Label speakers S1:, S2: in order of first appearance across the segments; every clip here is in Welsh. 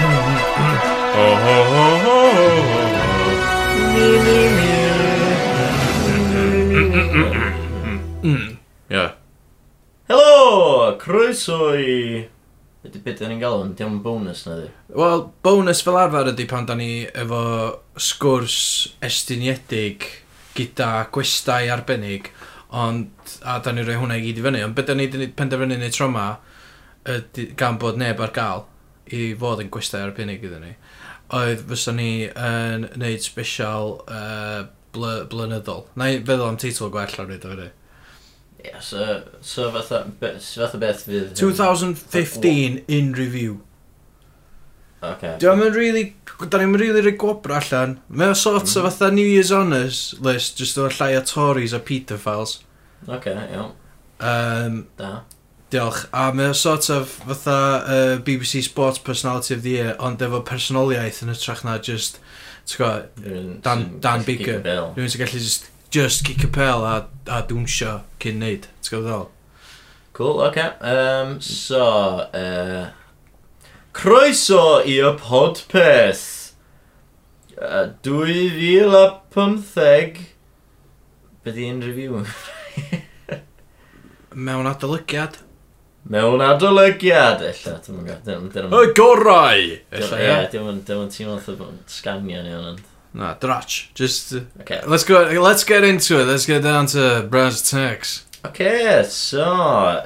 S1: Oh, oh, oh, oh, oh. Mi, mi, mi. Ie.
S2: Helo! Croeso i... Ydy beth ni'n galw yn, diolch yn bonus na di.
S3: Wel, bonus fel arfer ydy pan da ni efo sgwrs estuniedig gyda gwestai arbennig, ond, a da ni rhoi hwnna i gyd i fyny, ond beth da ni 'di neud- penderfynu ni tro yma, ydy, gan bod neb ar gael i fod yn gwestai arbennig iddyn ni, oedd fysa ni yn neud special uh, bl blynyddol. Na i feddwl am teitl gwell ar hyd o hynny.
S2: Ie, so, so fatha, be, so fatha beth fydd... hyn?
S3: 2015 in review.
S2: Oce.
S3: Dwi am yn really, da ni'n really rhaid gwobr allan. Mae o sort o fatha New Year's Honours list, just o llai o Tories a pedophiles.
S2: Oce, iawn.
S3: Um,
S2: Da.
S3: diolch. A mae o sort of fatha uh, BBC Sports Personality of the Year, ond efo personoliaeth yn ytrach na just, ti'n gwybod,
S2: Rhywun
S3: Dan-
S2: sy'n
S3: Dan
S2: gallu gigo
S3: Baker.
S2: bêl.
S3: rhywun sy'n gallu just, just kick a pel a, a dwnsio cyn neud. Ti'n gwybod ddol?
S2: Cool, oce. Yym, so, yy... Croeso i y podpeth. Yy, 2015. Be di un review?
S3: Mewn adolygiad.
S2: Mewn adolygiad, ella. Dwi'n gwybod, dwi'n
S3: Y gorau! Ella,
S2: Ie,
S3: ia.
S2: dim ond dim ond teimlo fatha bod yn sgamio ni ond.
S3: Na, drach. Just, uh,
S2: Oce.
S3: let's go, let's get into it. Let's get down to brass tacks.
S2: Oce, so...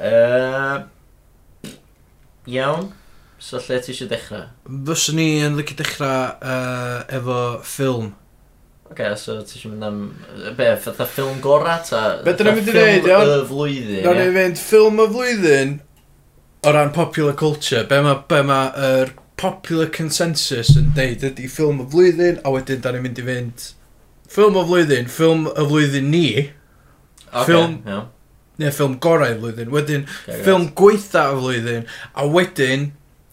S2: Yy... Iawn. So lle ti eisiau dechrau?
S3: Fyswn ni yn lygu dechrau uh, efo ffilm.
S2: Oce, so ti eisiau mynd am... Be, fatha ffilm gorau ta?
S3: Be' dyn ni'n mynd i neud,
S2: iawn?
S3: iawn?
S2: Y flwyddyn,
S3: Nawr ni
S2: ie?
S3: fynd ffilm y flwyddyn o ran popular culture. Be mae be ma, er popular consensus yn deud ydy ffilm y flwyddyn, a wedyn da ni'n mynd i fynd ffilm y flwyddyn, ffilm y flwyddyn ni,
S2: Oce,
S3: ffilm-
S2: iawn.
S3: neu ffilm gorau y flwyddyn, wedyn
S2: Oce, grêt.
S3: ffilm gweitha y flwyddyn, a wedyn,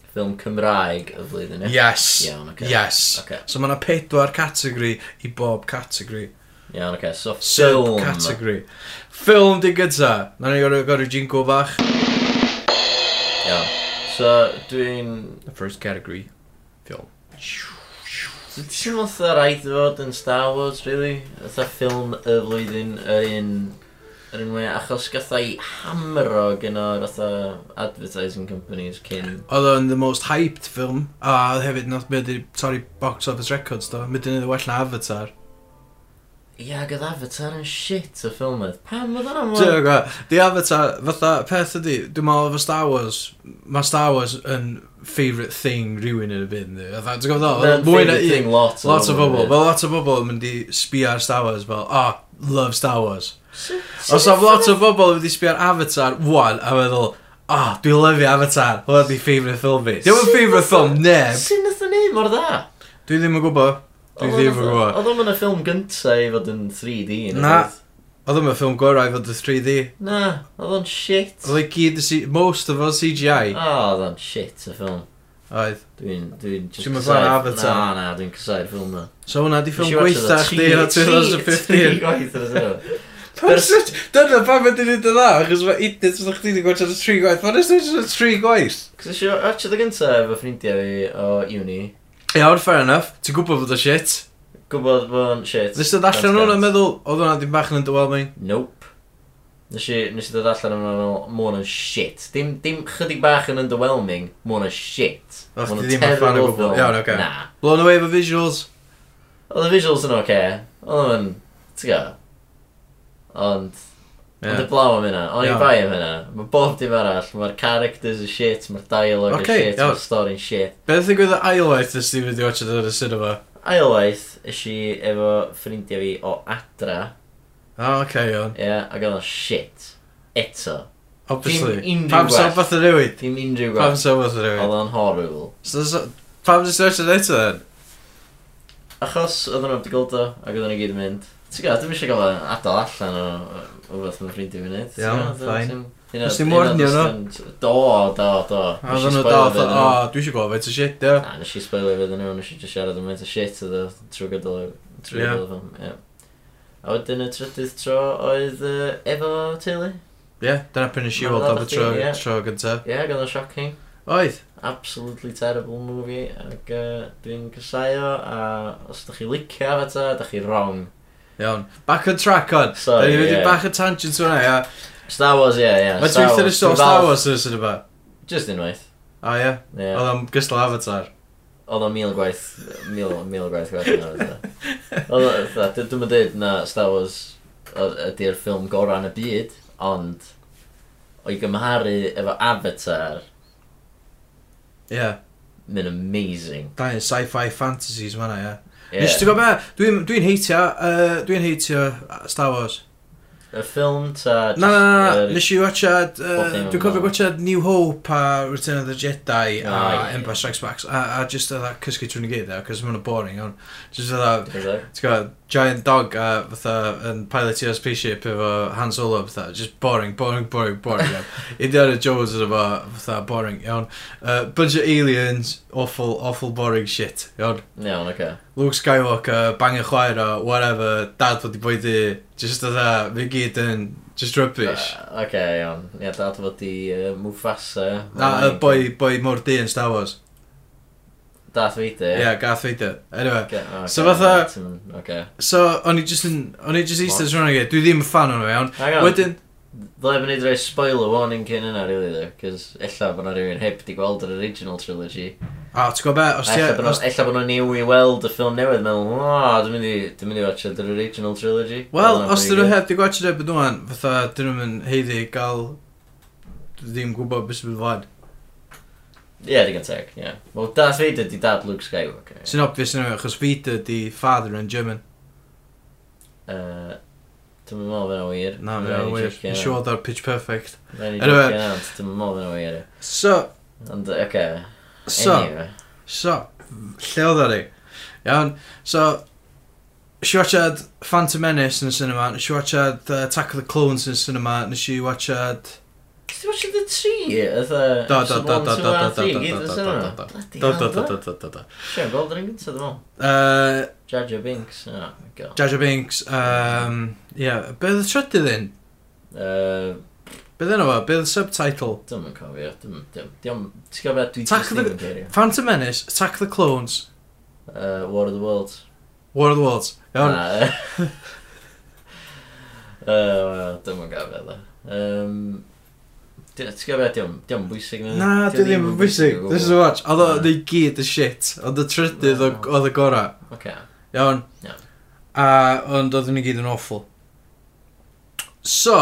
S2: Ffilm Cymraeg y flwyddyn, ie?
S3: yes,
S2: Iawn, oce.
S3: yes.
S2: Oce.
S3: So mae yna pedwar categori i bob categori.
S2: Iawn, oce, so ffilm...
S3: Subcategory. Film di gyda. Na ni gorau gorau jingle bach.
S2: Iawn. So, dwi'n...
S3: The first category. Film.
S2: Dwi'n teimlo fatha rhaid i fod yn Star Wars, really. Fatha ffilm y flwyddyn yr un... Yr un mwyaf, achos gatha i hamro gyno fatha advertising companies cyn...
S3: Oedd o'n the most hyped film. A oedd hefyd nath byd i torri box office records do. Mynd yn well na Avatar.
S2: Ia, gyda Avatar yn shit o ffilm oedd. Pam oedd hwnna
S3: Ti'n
S2: mor...
S3: gwybod? Di Avatar, fatha peth ydi, dwi'n meddwl efo Star Wars, mae Star Wars yn favourite thing rhywun yn y byd. yndi? Fatha, Ti'n gwybod?
S2: Mae'n
S3: Mwy na
S2: favourite
S3: un.
S2: thing lot o
S3: Lot o
S2: bobl,
S3: bobl.
S2: ie.
S3: Fel lot o bobl yn mynd i sbio ar Star Wars fel, oh, love Star Wars.
S2: Sut-
S3: Os
S2: sut
S3: am lot o bobl wedi sbio ar Avatar, wan, a meddwl, ah, oh, dwi'n lyfio Avatar, hwnna di favourite film fi. Dwi'n
S2: Sut
S3: mynd favourite film, neb.
S2: Sut nath o'n neud mor dda?
S3: Dwi ddim yn gwybod. Dwi
S2: Oedd o'n-
S3: ddim yn gwybod.
S2: Oedd o'n mynd y ffilm gynta i fod yn 3D. neu
S3: Na.
S2: beth.
S3: Oedd yma ffilm gorau i fod y 3D.
S2: Na, oedd o'n shit.
S3: Oedd ei gyd, y C- most of o'n CGI.
S2: O, oedd o'n shit y ffilm.
S3: Oedd.
S2: Dwi'n... Dwi'n... just
S3: Ti'n mynd
S2: casau-
S3: fan Avatar?
S2: Na, na, dwi'n casau'r ffilm na.
S3: So hwnna di ffilm
S2: Wnes i watch
S3: gweitha
S2: the
S3: chdi o
S2: tri- tri- tri
S3: 2015.
S2: gwaith ar y tro.
S3: Person- Dyna pam ydy ni'n dda, achos mae idiots oedd chdi wedi gwaith ar y tri gwaith. Mae'n ystod y tri gwaith.
S2: Cos eisiau watcha dy gynta efo ffrindiau fi o uni.
S3: Iawn, fair enough. Ti'n gwybod bod o shit.
S2: Gwbod bod o'n shit.
S3: Nes dod allan o'n hwnna'n meddwl, oedd hwnna dim bach yn underwhelming.
S2: Nope. Nes i, nes i dod allan o'n meddwl, mwn yn shit. Dim, dim chydig bach yn underwhelming, mwn yn shit.
S3: O,
S2: Ma' hwn
S3: chdi
S2: yn
S3: ddim yn fan o
S2: terrible
S3: gwbl.
S2: film.
S3: Iawn, oce.
S2: Na.
S3: Blown away efo visuals.
S2: Oedd y visuals yn oce. Oedd yn, ti'n go? Ond, ond y blaw am hynna. Ond
S3: Iawn.
S2: i bai am hynna. Mae bob dim arall. Mae'r characters yn shit, mae'r dialogue yn
S3: Oce,
S2: shit,
S3: iawn.
S2: mae'r stori'n shit.
S3: Beth ydy gwyth ailwaith ys ti wedi watched ar y cinema?
S2: Ailwaith, ys i efo ffrindiau fi o adra,
S3: O, oh, oce, iawn.
S2: ie, yeah, ac oedd o'n shit. Eto. Dim
S3: Obviously.
S2: unrhyw
S3: Pam
S2: gwell.
S3: sa'n fath yn newid?
S2: Dim unrhyw
S3: Pam
S2: gwaith.
S3: sa'n fath yn newid?
S2: Oedd o'n horrible.
S3: So- so- Pam sa'n watched yn eto then?
S2: Achos oedd nhw wedi gweld o, ac oedd nhw i gyd yn mynd. Ti'n gwybod, dwi'n eisiau gael adal allan o o beth mae'n ffrindiau fi'n neud.
S3: Iawn, fine. Os ti'n warnio
S2: Do, do, do.
S3: A oedden nhw dal, o, dwi eisiau gweld faint o shit, ie.
S2: Na, nes i spoilio fydden nhw, nes i just siarad am faint o shit oedd o trwy gydol y- trwy
S3: Ie.
S2: gydol y ffilm, ie. A wedyn y trydydd tro oedd yy, efo teulu.
S3: Ie, dyna pen nes i
S2: Ma'
S3: weld
S2: fel
S3: am y
S2: chdi,
S3: tro,
S2: ie.
S3: tro gyntaf.
S2: Ie, yeah, oedd o'n shocking.
S3: O, Oedd.
S2: absolutely terrible movie ac uh, dwi'n cysau a os ydych chi licio feta, ydych chi wrong
S3: Iawn. Back on track on. Da
S2: Sorry,
S3: ni wedi
S2: ie.
S3: bach y tangent hwnna, ia.
S2: Star Wars, ie, yeah, ie yeah.
S3: Mae ti'n ffynu sôn Star Wars yn sy'n yma.
S2: Just unwaith
S3: O ie.
S2: Ie.
S3: Oedd o'n gystal Avatar.
S2: Oedd o mil gwaith, mil, mil gwaith gwaith yna feta Oedd o, fatha, dwi- dwi'm yn dweud na Star Wars o- ydi'r ffilm gorau yn y byd ond o'i gymharu efo Avatar
S3: Ie.
S2: mae'n amazing
S3: Da ni'n sci-fi fantasies fanna, ie.
S2: Ie.
S3: Nes ti'n gwybod be? Dwi'n dwi'n heitio, yy, dwi'n heitio Star Wars.
S2: Y ffilm ta...
S3: Na, na, na, na,
S2: yr-
S3: nes i watchad,
S2: Bob
S3: yy,
S2: dim
S3: dwi'n cofio
S2: amdano.
S3: watchad New Hope a Return of the Jedi
S2: Ah,
S3: a
S2: ie.
S3: Empire Strikes Back a, a just oedd cysgu trwy'n i gyd, cos mae'n boring, ond just oedd
S2: Is it?
S3: Ti'n gwybod, giant dog a fatha yn pilotio spaceship efo Han Solo fatha, just boring, boring, boring, boring iawn. Indiana Jones yn efo fatha boring iawn. Uh, bunch of aliens, awful, awful boring shit iawn.
S2: Iawn, oce.
S3: Luke Skywalker, bangio chwaer o, whatever, dad fod i bwydu, just fatha, fi gyd yn, just rubbish.
S2: Uh, Oce, iawn. Ie, dad fod i uh, Mufasa.
S3: Na, y boi, boi mor di yn Star Wars.
S2: Dad Vader.
S3: Ie, yeah, Garth Vader. Anyway,
S2: Oce, oce,
S3: So fatha-
S2: ti'n- Oce.
S3: so, o'n i just yn, o'n i just eistedd rhan i gyd, dwi ddim yn fan o'n iawn.
S2: Hang on.
S3: Wedyn,
S2: Ddau fynd i droi spoiler warning cyn yna, really, ddo. Cys ella bod na rhywun heb di gweld yr original trilogy.
S3: a, ti'n gwybod be, os ti...
S2: Ella bod
S3: os-
S2: nhw- ella bod nhw'n new i weld y ffilm newydd, meddwl, o, dwi'n mynd i, dwi'n mynd i watch yr original trilogy.
S3: Wel,
S2: Oedd hwnna'n
S3: os dyn nhw
S2: pretty
S3: heb di gwachod e byd nhw'n, fatha dyn nhw'n heiddi gael ddim gwybod beth sy'n fod.
S2: good. Ie, digon teg, ie. Wel, Darth Vader di dad Luke Skywalker.
S3: Sy'n obvious yn achos Vader di father yn German.
S2: Uh, Dwi'n meddwl bod yna wir.
S3: Na,
S2: Rhaid
S3: mae'n
S2: i
S3: wir.
S2: checio
S3: Yn
S2: hwnna.
S3: siŵr o'r pitch perfect.
S2: Rhaid i
S3: Anyway.
S2: checio hwnna, Dwi'n meddwl bod yna wir.
S3: So,
S2: Ond, oce.
S3: so,
S2: Anyway.
S3: so, lle oedd ar i? Iawn, so, nes i watchad Phantom Menace yn y cinema, nes i watchad uh, Attack of the Clones yn y cinema, nes i watchad...
S2: Ti'n watch the tree? Ytha...
S3: Da, da, da, da, da, da, da, da, da, da, da, Da, da, da,
S2: da.
S3: da, da, da.
S2: Sian, gweld yr un gyntaf, dwi'n meddwl.
S3: Uh,
S2: Jar Jar Binks. O, my god.
S3: Jar Jar Binks, um, yeah, beth oedd y trydydd un?
S2: Yy,
S3: Beth yna fo? Beth oedd y subtitle?
S2: Dwi'm yn cofio. Dwi'n... Dwi'n... Ti'n cofio dwi
S3: Attack
S2: just
S3: of the-
S2: ddim yn cofio.
S3: Phantom Menace, Attack the Clones,
S2: Yy, War of the Worlds.
S3: War of the Worlds. Iawn,
S2: Na, yy. Yy, wel, Dwi'm yn cofio, dda. Yym... Ti'n cofio, diolch yn bwysig na.
S3: Na, dwi ddim yn bwysig. This is a watch. Oedd o neu gyd y shit, ond y trydydd o-
S2: Na.
S3: oedd y gorau.
S2: Oce.
S3: Iawn.
S2: Iawn.
S3: A, ond oedd nhw gyd yn awful. So,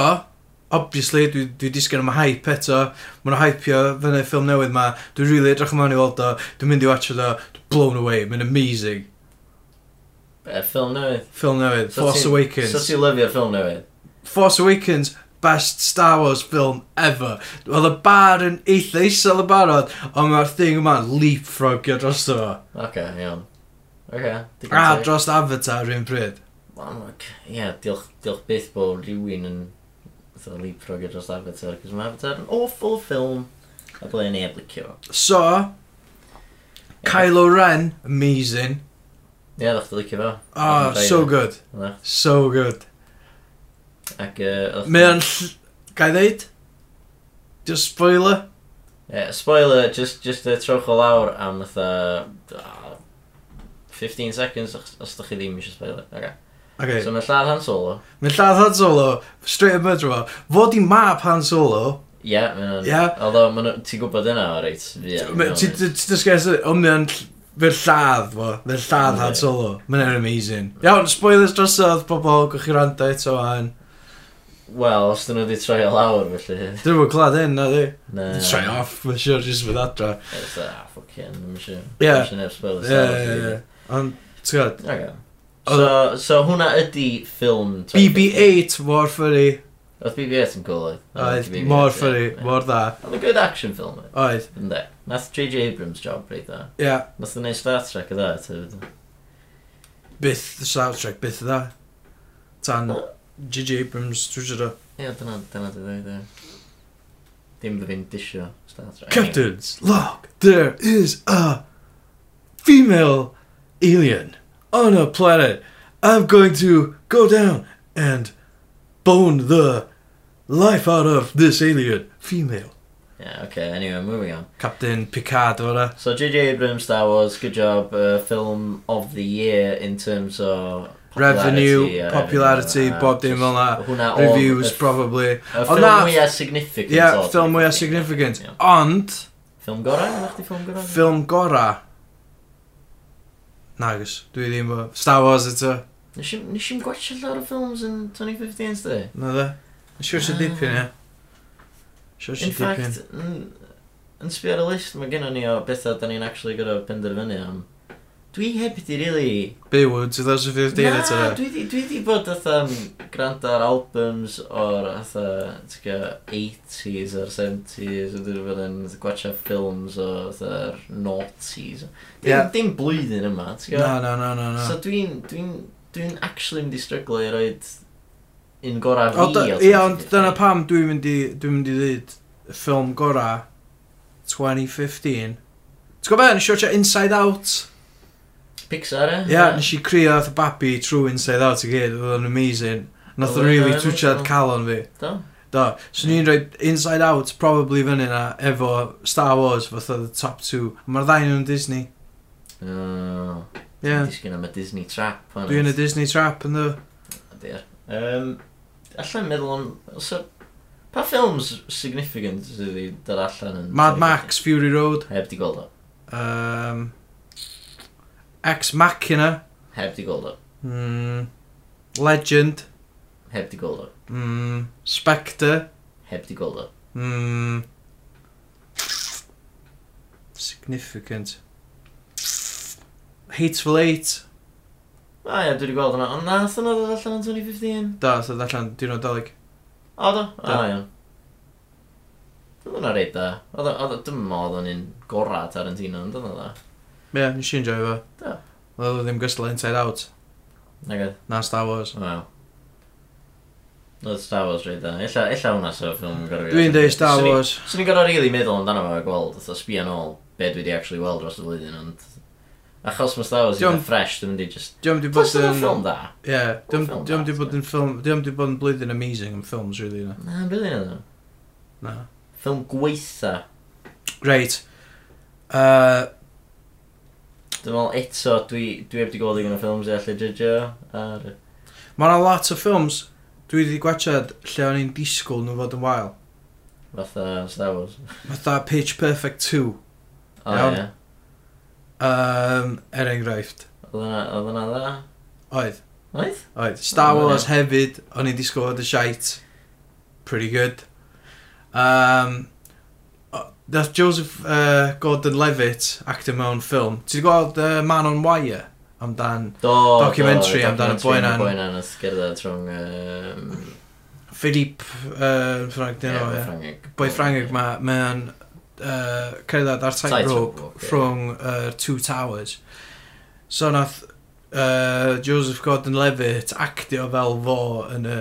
S3: obviously, dwi, dwi disgyn am y hype eto. Mae'n hypeio fyny ffilm newydd ma. Dwi'n rili really edrych ymlaen i weld o. Dwi'n mynd i watch o. Dwi'n blown away. Mae'n amazing.
S2: Y ffilm newydd.
S3: Ffilm newydd.
S2: So
S3: Force
S2: ti-
S3: Awakens.
S2: So ti'n lyfio'r ffilm newydd?
S3: Force Awakens, best Star Wars film ever. Oedd y bar yn eitha isel y barod, ond mae'r thing yma'n leapfrogio dros o fo.
S2: Oce, iawn. Oce.
S3: A dros Avatar rhywun pryd.
S2: Ie, diolch, diolch byth bod rhywun yn fatha leapfrog ar dros Avatar, cos mae Avatar yn awful ffilm a ble ni eblicio.
S3: So, Kylo Ren, amazing.
S2: Ie, ddech chi'n licio fo.
S3: Oh, so good.
S2: Na.
S3: So good.
S2: Ac, uh,
S3: Mae o'n... ll- Ga i ddeud? Just spoiler?
S2: Yeah, spoiler, just, just uh, trowch o lawr am fatha... ah, 15 seconds os os ydych chi ddim eisiau spoiler. Okay.
S3: Okay.
S2: So mae lladd Han Solo.
S3: Mae'n lladd Han Solo, straight up murder fo. Fod i map Han Solo,
S2: Ie, yeah, mae'n...
S3: Ie.
S2: Although, ma' nhw- ti'n gwybod yna o reit. Ie,
S3: Ma- Ti ti- ti'n dysgais, ond mae'n Fe'r lladd fo, fe'r lladd Han
S2: Yndi.
S3: Solo, mae'n amazing. Iawn, spoilers drosodd, pobol, gwch chi rando eto fan.
S2: Wel, os dyn nhw wedi troi o lawr, felly...
S3: Dwi'n fwy glad hyn, na di?
S2: Na.
S3: Di Try off, mae'n siwr, jyst fydd adra.
S2: It's a fucking... Dwi'n siŵr.
S3: Ie.
S2: Dwi'n siŵr neb spoiler.
S3: Ie, ie, ie. Ond, ti'n gwybod,
S2: Okay. So,
S3: Oedd-
S2: so hwnna ydi ffilm... 2015.
S3: BB-8 mor ffyrru,
S2: Oedd BB-8 yn cool, oedd?
S3: oedd,
S2: BB-8,
S3: mor
S2: ie.
S3: ffyrru,
S2: Ie.
S3: mor dda,
S2: Oedd yn good action film, oedd?
S3: oedd.
S2: Ynddo. Nath J.J Abrams job, reit dda.
S3: Ie,
S2: Nath o'n neud Star Trek o dda, tyfyd.
S3: byth, the soundtrack, byth dda. Tan G.G. Abrams, dwi'n siwr o.
S2: Ie, dyna, dyna dy ddweud e. Dim dy fi'n disio Star Trek.
S3: Captain's log. There is a female alien on a planet. I'm going to go down and bone the life out of this alien female.
S2: Yeah, okay, anyway, moving on.
S3: Captain Picard o re.
S2: So J.J. Abrams, Star Wars, good job. Uh, film of the year in terms of...
S3: Revenue,
S2: uh,
S3: popularity,
S2: revenue,
S3: bob dim
S2: just
S3: fel na.
S2: hwnna o'r-
S3: Reviews,
S2: y ff-
S3: probably.
S2: Y
S3: Ond
S2: ffilm
S3: na-
S2: mwyaf significant.
S3: Ie,
S2: o'r
S3: ffilm mwyaf
S2: thing.
S3: significant.
S2: Ie.
S3: Ond,
S2: Ffilm gorau? Ydych chdi ffilm gorau?
S3: ffilm gora... Nagos, dwi ddim o... Star Wars eto.
S2: Nes i'm- nes i'm gwachio llawer o ffilms yn 2015, sdi.
S3: Na dde? Yn siwr sy'n
S2: Ah.
S3: dipyn, ie. Siwr
S2: In
S3: sy'n dipyn.
S2: fact, n- yn sbio ar y list, mae gennym ni o bethau da ni'n actually gyda penderfynu am. Dwi heb di really...
S3: Byw, 2015 eto.
S2: Na,
S3: de.
S2: dwi di, dwi di bod atha gwrando ar albums o'r atha, ti'n gwybod, 80s o'r 70s, a dwi wedi bod yn gwachio ffilms o atha'r 90s. Dim,
S3: Ie.
S2: dim blwyddyn yma, ti'n gwybod?
S3: Na, na, na, na, na.
S2: So dwi'n, dwi'n, dwi'n actually mynd i stryglo i roed un gorau fi.
S3: O, dy-
S2: o
S3: Ie, ond
S2: 2015.
S3: dyna pam dwi'n mynd i, dwi'n mynd i ddweud ffilm gora 2015. Ti'n gwybod beth, nes i watcha Inside Out?
S2: Pixar, e?
S3: Ie, yeah, nes i crio oedd y babi trwy Inside Out i gyd, oedd yn amazing. Nath
S2: Oedd o'n
S3: o'n really
S2: amazing.
S3: twtiad calon fi.
S2: Do?
S3: Do, so ni'n rhoi Inside Out probably fyny na efo Star Wars fath oedd y top two. Mae'r ddau nhw'n Disney.
S2: Oh,
S3: Ie, yeah.
S2: Dwi'n disgyn am y Disney Trap. hwn.
S3: dwi yn y Disney trap yn dwi.
S2: O, dear. Um, Alla'n meddwl am... So, pa ffilms significant sydd wedi dod allan yn...
S3: Mad Max, Fury Road,
S2: Heb di gweld o.
S3: um, Ex Machina,
S2: Heb di gweld o.
S3: mm, Legend,
S2: Heb di gweld o.
S3: Mm, Spectre.
S2: Heb di gweld o.
S3: Mm, significant. Hateful Eight.
S2: O ie, dwi wedi gweld hwnna. Ond na, sy'n dod allan yn 2015.
S3: Da, so allan diwrnod dolyg.
S2: O, do? O,
S3: Do.
S2: iawn. Oedd hwnna reit da. Oedd o, oedd o- dwi'm yn meddwl oedd o'n un gorau Tarantino, ond oedd o da.
S3: Ie, yeah, nes i enjoy fo.
S2: Do.
S3: Oedd o ddim gystal Inside Out.
S2: Nag oedd?
S3: Na Star Wars.
S2: Wel. Oedd Star Wars reit da. Ella, ella hwnna sef ffilm yn gorau.
S3: Dwi'n deud Star Wars.
S2: Swn i'n gorau rili meddwl amdano fo a gweld, oedd o sbio yn ôl, be dwi wedi actually weld dros y flwyddyn, ond... Achos mae Star Wars yn
S3: Diom-
S2: fresh, dwi'n mynd i just...
S3: Dwi'n di bod
S2: Plus oedd o'n
S3: yn...
S2: ffilm da.
S3: Ie, dwi'n
S2: Ffilm
S3: dwi'n
S2: da,
S3: di bod yn ffilm... Dwi'n di bod yn blwyddyn amazing am ffilms, really, na.
S2: Na, yn brilliant oedd o.
S3: Na.
S2: Ffilm gweitha.
S3: Reit. Uh,
S2: Dwi'n meddwl eto, dwi, dwi heb di gweld i gyda ffilms i allu judge ar...
S3: Mae yna lot o ffilms dwi wedi gwachad lle o'n i'n disgwyl nhw fod yn wael.
S2: fatha Star Wars.
S3: Fatha Pitch Perfect 2.
S2: O,
S3: Iawn.
S2: ie.
S3: Um, er enghraifft.
S2: Oedd yna, oedd yna dda?
S3: Oedd.
S2: Oedd?
S3: Oedd. Star
S2: O,
S3: Wars
S2: ie.
S3: hefyd, o'n i'n disgwyl fod y shite. Pretty good. Um, o- Nath Joseph uh, Gordon-Levitt actor mewn ffilm. Ti wedi gweld uh, Man on Wire? Amdan
S2: Do,
S3: Documentary amdan y boi na'n-
S2: Boi na'n ysgerdad rhwng... yym,
S3: Philippe uh, Frank
S2: ie,
S3: dyn nhw,
S2: boi
S3: ie.
S2: Ffrangeg.
S3: Boi Ffrangeg ma, mae'n uh, cerdded ar tightrope
S2: Tightrope, ie.
S3: rhwng uh, Two Towers. So nath uh, Joseph Gordon-Levitt actio fel fo yn y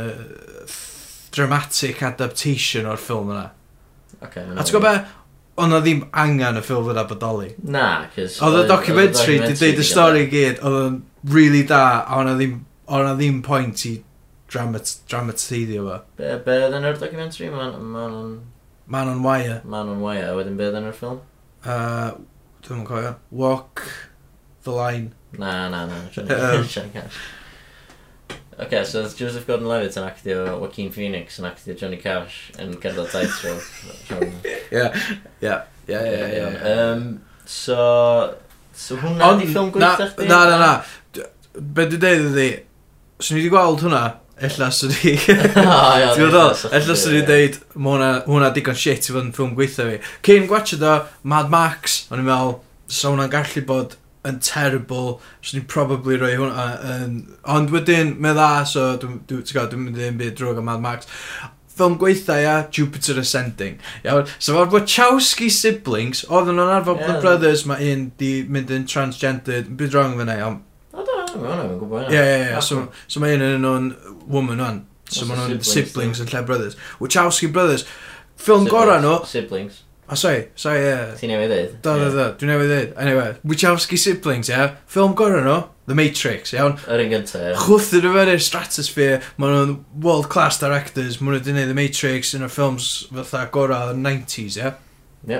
S3: dramatic adaptation o'r ffilm yna.
S2: Ocê,
S3: A
S2: ma'
S3: ti'n gwybod be? Ond o ddim angen y ffilm yna bodoli.
S2: Na, cys...
S3: Oedd y documentary di deud y
S2: gyda-
S3: stori i gyd, oedd yn really da, a oedd ddim, oedd ddim pwynt i dramat, dramateiddio fo.
S2: Be, be oedd yn yr documentary? Man, man, on,
S3: Man on Wire,
S2: man on Wire, a wedyn be oedd yn yr ffilm?
S3: uh, dwi'n yn cofio, Walk the Line.
S2: Na, na, na.
S3: Yym.
S2: Sian cash. Oce, so oedd Joseph Gordon-Levitt yn actio Joaquin Phoenix yn actio Johnny Cash yn gerdded tightrope. rhwng-
S3: Ie,
S2: Yym, So... So hwnna di ffilm gweithio chdi?
S3: Na, na, na. D- Be dwi'n deud ydi, swn i wedi gweld hwnna, ella swn i...
S2: ia,
S3: Ti'n gwybod?
S2: ella 'swn i-
S3: Ella swn i
S2: ie.
S3: deud, ma' hwnna- hwnna digon shit i fod yn ffilm gweithio fi. Cyn gwachod o Mad Max, o'n i'n meddwl, sa hwnna'n gallu bod yn terrible, swn i'n probably rhoi hwnna yn... Ond wedyn, me dda, so dwi'n dwi, ti'n gwbod, dwi'n mynd i'n byd drwg o Mad Max. Ffilm gweithio, ia, Jupiter Ascending. Iawn, so mae'r Wachowski siblings, oedden nhw'n arfer
S2: Ie.
S3: yeah. Brothers, mae un di mynd yn transgendered, byd wrong fyna, iawn.
S2: O, do, ma' hwnna, ma'n gwybod
S3: Ie,
S2: hynna.
S3: ie, ie, so so mae un yn nhw'n woman o'n, so
S2: Os
S3: mae
S2: y
S3: nhw'n
S2: siblings,
S3: siblings yn lle brothers. Wachowski Brothers, ffilm gorau nhw,
S2: Siblings.
S3: o sori, sori, ie,
S2: Ti'n ei ddeud?
S3: da, da, da, dwi'n newid dweud, anyway, Wachowski siblings, ie, ffilm gorau nhw, The Matrix, iawn,
S2: Yr un gyntaf,
S3: chwthu nhw fewn i'r stratosphere, mae nhw'n world class directors, mae nhw wedi gwneud The Matrix yn y ffilms fatha gorau o'r 90s, ie.
S2: Ie.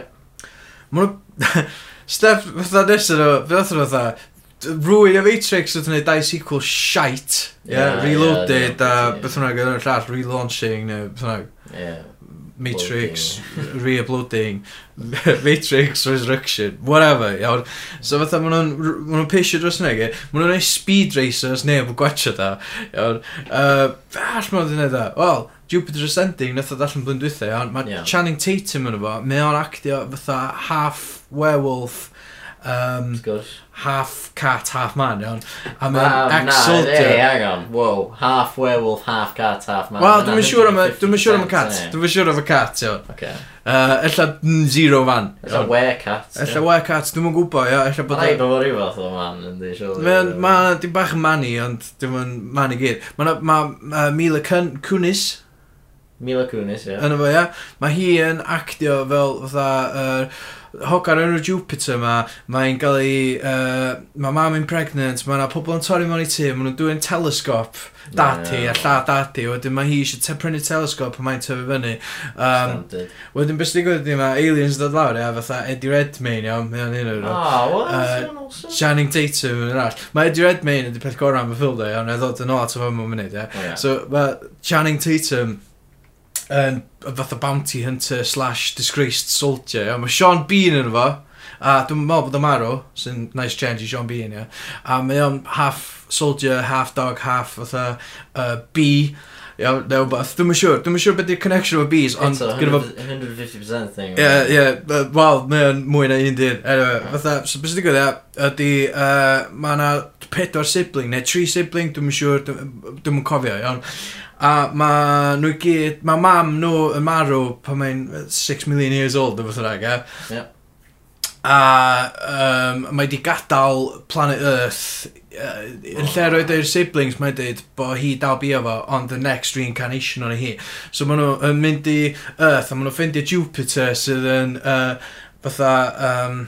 S3: Ma' nhw... Step fatha nesaf nhw, fe ddath nhw fatha, rwy'n y Matrix wrth wneud dau sequel shite, ie,
S2: Ie, ie,
S3: reloaded
S2: ie,
S3: a
S2: ie.
S3: beth hwnna gyda'r llall, relaunching neu beth hwnna,
S2: Ie.
S3: Matrix, re-uploading, Matrix Resurrection, whatever, iawn. So fatha ma' nhw'n ma' nhw'n pisio dros hynna gyd, ma' nhw'n neud speed racers neu yn gwachio da, iawn. Uh, all ma' nhw'n neud da, wel, Jupiter Ascending, nath o ddallan blwyddyn dwythau, iawn, mae
S2: Iawn.
S3: Channing Tatum yn efo, mae o'n actio fatha half werewolf, um,
S2: Wrth gwrs.
S3: half cat, half man, iawn. A
S2: Wel, na,
S3: mae'n
S2: Ei,
S3: ex-soldier.
S2: hang on. Wow. Half werewolf, half cat, half man.
S3: Wel,
S2: Ma'
S3: dwi'n siŵr am y
S2: 150%
S3: dwi'n siŵr am y cat,
S2: ie.
S3: dwi'n siŵr am y cat, iawn.
S2: Oce.
S3: Uh, ella mm, zero fan.
S2: Ella werecat.
S3: Ella werecat, dwi'n mwyn gwybod, ia. Ella bod...
S2: Mae'n rhaid bod o ryw fath o man, yndi, siwr.
S3: Mae'n ma, dim bach yn mani, ond dim yn mani gyd. Mae ma, ma, Mila Kun- Kunis
S2: Mila Kunis, ie.
S3: yn efo, ia. Mae hi yn actio fel, fatha, uh, hogar enw Jupiter ma. Mae'n cael ei... Uh, mae mam yn pregnant, mae yna pobl yn torri mewn i tŷ, mae nhw'n dwi'n telescop dati,
S2: Ie.
S3: a lla dati. Wedyn mae hi eisiau te- prynu telescop a mae'n tyfu fyny. Um,
S2: Standard.
S3: Wedyn beth sy'n digwydd ydy mae aliens dod lawr, ia, fatha Eddie Redmayne, iawn, mae o'n un o'r nhw.
S2: Ah, wel,
S3: Yy,
S2: Sion Olsen.
S3: Channing Tatum yn yr all. Mae Eddie Redmayne ydy peth gorau am y ffilm, iawn, a ddod yn ôl at o fan mewn munud, ia.
S2: O, ie.
S3: So, mae Channing Tatum yn fatha bounty hunter slash disgraced soldier, iawn. Mae Sean Bean yn fo, a dwi'n meddwl bod o marw, sy'n nice change i Sean Bean, ia. A mae o'n half soldier, half dog, half fatha uh, bee, iawn, neu wbath. Dwi'n siŵr, dwi'n siŵr beth yw'r connection o bees, ond
S2: Eto,
S3: gyda fo
S2: 150% thing.
S3: Ie, Mm. ie, wel, mae o'n mwy na un dyn. Anyway, fatha, so beth sy'n digwydd ia, ydy, uh, mae yna pedwar sibling, neu tri sibling, dwi'n siŵr, dwi'n cofio, iawn. A mae nhw i gyd, mae mam nhw yn marw pan mae'n 6 million years old, dwi'n fath ie.
S2: Ie.
S3: A um, mae di gadael planet Earth uh, yn lle roed i'r siblings mae'n dweud bod hi dal bia fo ond the next reincarnation o'n hi so maen nhw yn mynd i Earth a maen nhw'n ffeindio Jupiter sydd yn uh, fatha um,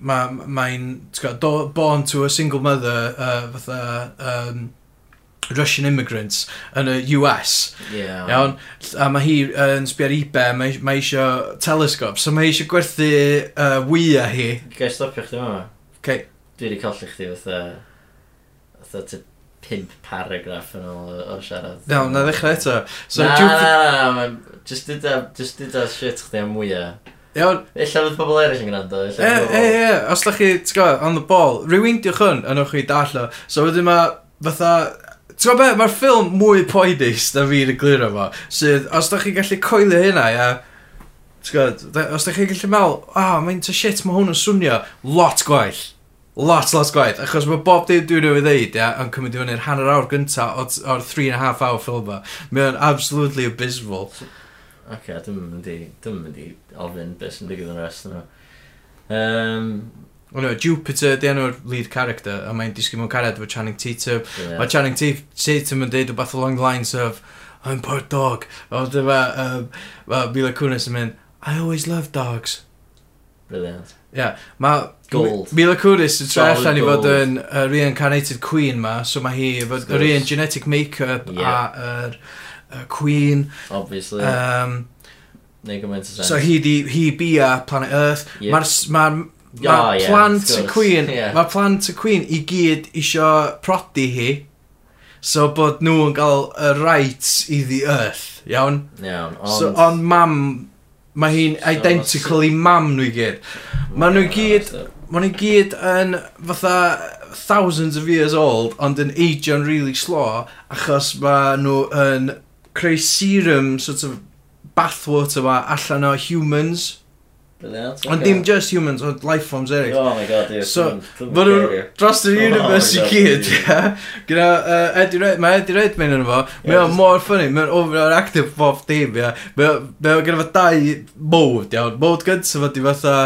S3: mae'n ma mae'n, t'go, do- born to a single mother uh, fatha um, Russian immigrants yn y US
S2: Ie.
S3: Iawn, a mae hi uh, yn sbio ar eBay, mae, mae eisiau telescope, so mae eisiau gwerthu uh, wya hi.
S2: Gai stopio chdi yma?
S3: Okay.
S2: Dwi wedi colli chdi fatha... Fatha ty pimp paragraff yn ôl o- o siarad.
S3: Iawn, na ddechrau eto. So,
S2: na, na,
S3: Jupiter...
S2: na, na, ma'n- jyst dyd a- jyst dyd a shit chdi am mwyaf.
S3: Iawn,
S2: Ella fydd pobl eraill yn gwrando.
S3: e,
S2: ella fydd
S3: e,
S2: pobl-
S3: e, os da chi, ti'n gwybod, on the ball, rewindiwch hwn, a nhw'ch chi darllo. So, wedyn mae, fatha, ti'n gwybod be, mae'r ffilm mwy poedus na fi'n egluro fo, sydd, os da chi gallu coelio hynna, ia, ti'n gwybod, da- os da chi gallu meddwl, ah, oh, mae'n ta shit, mae hwn yn swnio lot gwell. Lot, lot gwaith, achos mae bob dim dwi'n ei ddeud, ia, yn cymryd i fyny'r hanner awr gyntaf o'r, or three and a half hour ffilm yma. Mae o'n absolutely abysmal.
S2: Oce, dwi'm yn mynd i... Dwi'm yn mynd i ofyn beth sy'n digwydd yn yr rest yn nhw. Um,
S3: Wel, no, Jupiter di enw'r lead character, a mae'n disgyn mewn cariad efo Channing Tatum.
S2: Ie.
S3: Yeah. Mae Channing Ta- Tatum yn deud wbeth along the lines of, I'm part dog. A wedyn mae um, ma Mila Kunis yn mynd, I always love dogs.
S2: brilliant.
S3: Yeah, mae
S2: Gold.
S3: Mila Kunis yn troi
S2: Solid
S3: allan i fod
S2: gold.
S3: yn uh, reincarnated queen ma, so mae hi efo
S2: Of
S3: yr
S2: course.
S3: un genetic make-up
S2: Ie.
S3: a yr uh, queen.
S2: Obviously. Uh,
S3: Um,
S2: Neu gymaint o sens.
S3: so hi, di, hi bia planet Earth.
S2: Ie.
S3: Yeah. Mae'r ma
S2: Oh,
S3: Mae
S2: ie,
S3: plant
S2: wrth
S3: y
S2: gwrs,
S3: Queen
S2: ie.
S3: Mae plant y Queen i gyd isio prodi hi So bod nhw yn cael y rights i the earth Iawn
S2: Iawn,
S3: ond, so,
S2: ond...
S3: ond mam Mae hi'n
S2: So-
S3: identical i mam nhw i gyd ma' nhw gyd- Mae nhw i gyd yn fatha thousands of years old Ond yn agio'n really slow Achos mae nhw yn creu serum sort of bathwater ma allan o humans
S2: Brilliant.
S3: Ond
S2: ocê.
S3: dim just humans, ond life forms eraill
S2: Oh my god, ie.
S3: So,
S2: dwi'm- dwi'm
S3: Mae
S2: yn
S3: nhw
S2: cario.
S3: dros yr
S2: Oh
S3: universe
S2: my
S3: i
S2: God,
S3: gyd,
S2: ie.
S3: ie. Gyda uh, Eddie Redmayne, mae Eddie Redmayne yn efo,
S2: Ie,
S3: mae o'n
S2: jyst-
S3: mor ffynnu, mae o'n overactive bob dim, ie. Mae o- mae o'n gyda fo dau mode, iawn. Mode gyntaf ydi fatha,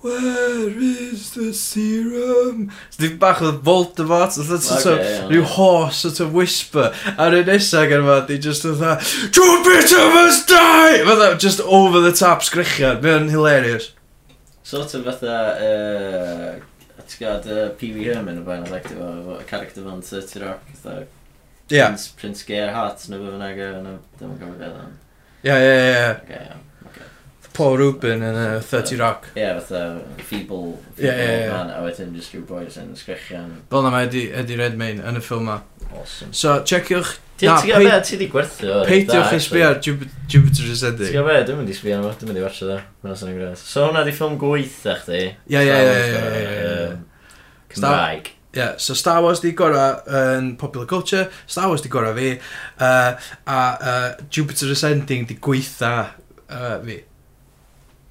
S3: Where is the serum? So di bach o Voldemort, so that's sort
S2: Ocê,
S3: of
S2: iawn.
S3: rhyw horse sort of whisper. A rhywun nesaf gan yma, di just fatha, Jupiter must die! Fatha, just over the top sgrichiad, mae o'n hilarious.
S2: Sort of fatha... yy, Ti'n gwybod uh, Pee Wee Herman o bain oedd actio fo, efo y character fan 30 Rock, fatha
S3: Ie, ie,
S2: Prince, Prince Gerhardt, neu beth bynnag, yy, neu- dwi'm yn cofio beth oedd o'n.
S3: ie, ie, ie.
S2: Oce, iawn.
S3: Paul Rubin yn y 30 Rock.
S2: Ie, fatha feeble,
S3: Ie, ie,
S2: feeble
S3: ie.
S2: man, a wedyn just rhyw boys yn sgrechian.
S3: Fel na mae e Eddie, Eddie Redmayne yn y ffilm ma.
S2: Awesome.
S3: So, checiwch...
S2: Ti
S3: na,
S2: ti gael
S3: pei-
S2: be, ti di gwerthu o.
S3: Peidiwch
S2: da,
S3: i sbio ar Jupiter- Jupiter
S2: Ti'n
S3: Ascending.
S2: gwybod be, dwi'n mynd i sbio arno fo, dwi'n mynd i watcha dda. Mae'n sy'n gwneud. So hwnna di ffilm gweitha chdi.
S3: Ie, ie, ie, ie, ie, ie, ie.
S2: Yym, Cymraeg.
S3: Yeah, so Star Wars di gora yn popular culture, Star Wars di gora fi, uh, a uh, Jupiter Ascending di gweitha uh, fi.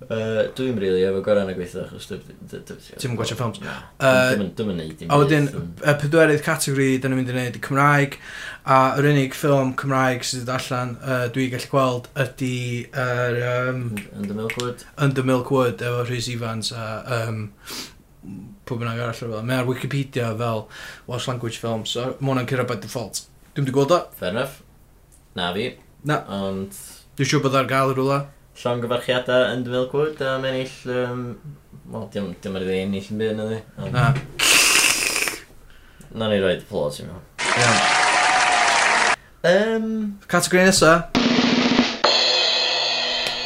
S2: Yy, Dwi'n rili efo gorau yn y gweitha, achos
S3: Ti'm yn
S2: dwi'n...
S3: gwatsio ffilms?
S2: Na.
S3: Yy,
S2: Dwi'n mynd i neud.
S3: A wedyn, y pedwerydd categori dyn nhw'n mynd i wneud i Cymraeg, a yr unig ffilm Cymraeg sydd wedi allan uh, dwi'n gallu gweld ydy yr um,
S2: Yn dy Milkwood.
S3: Under Milk Wood efo Rhys Ifans a um, pwy bynnag arall o'r fel. Mae ar Wikipedia fel Welsh Language Film, so mae hwnna'n cyrra by default. Dwi'n wedi gweld o.
S2: Fair enough. Na fi.
S3: Na.
S2: Ond
S3: Dwi'n siŵr bod ar gael yr rwla.
S2: llongyfarchiadau yn dy Milkwood a mae'n eill... yym, Wel, dim dim ar ei ennill yn byd yn ydi. ond-
S3: Na.
S2: Na ni roed y plod i mewn.
S3: Iawn.
S2: Um,
S3: Categori nesa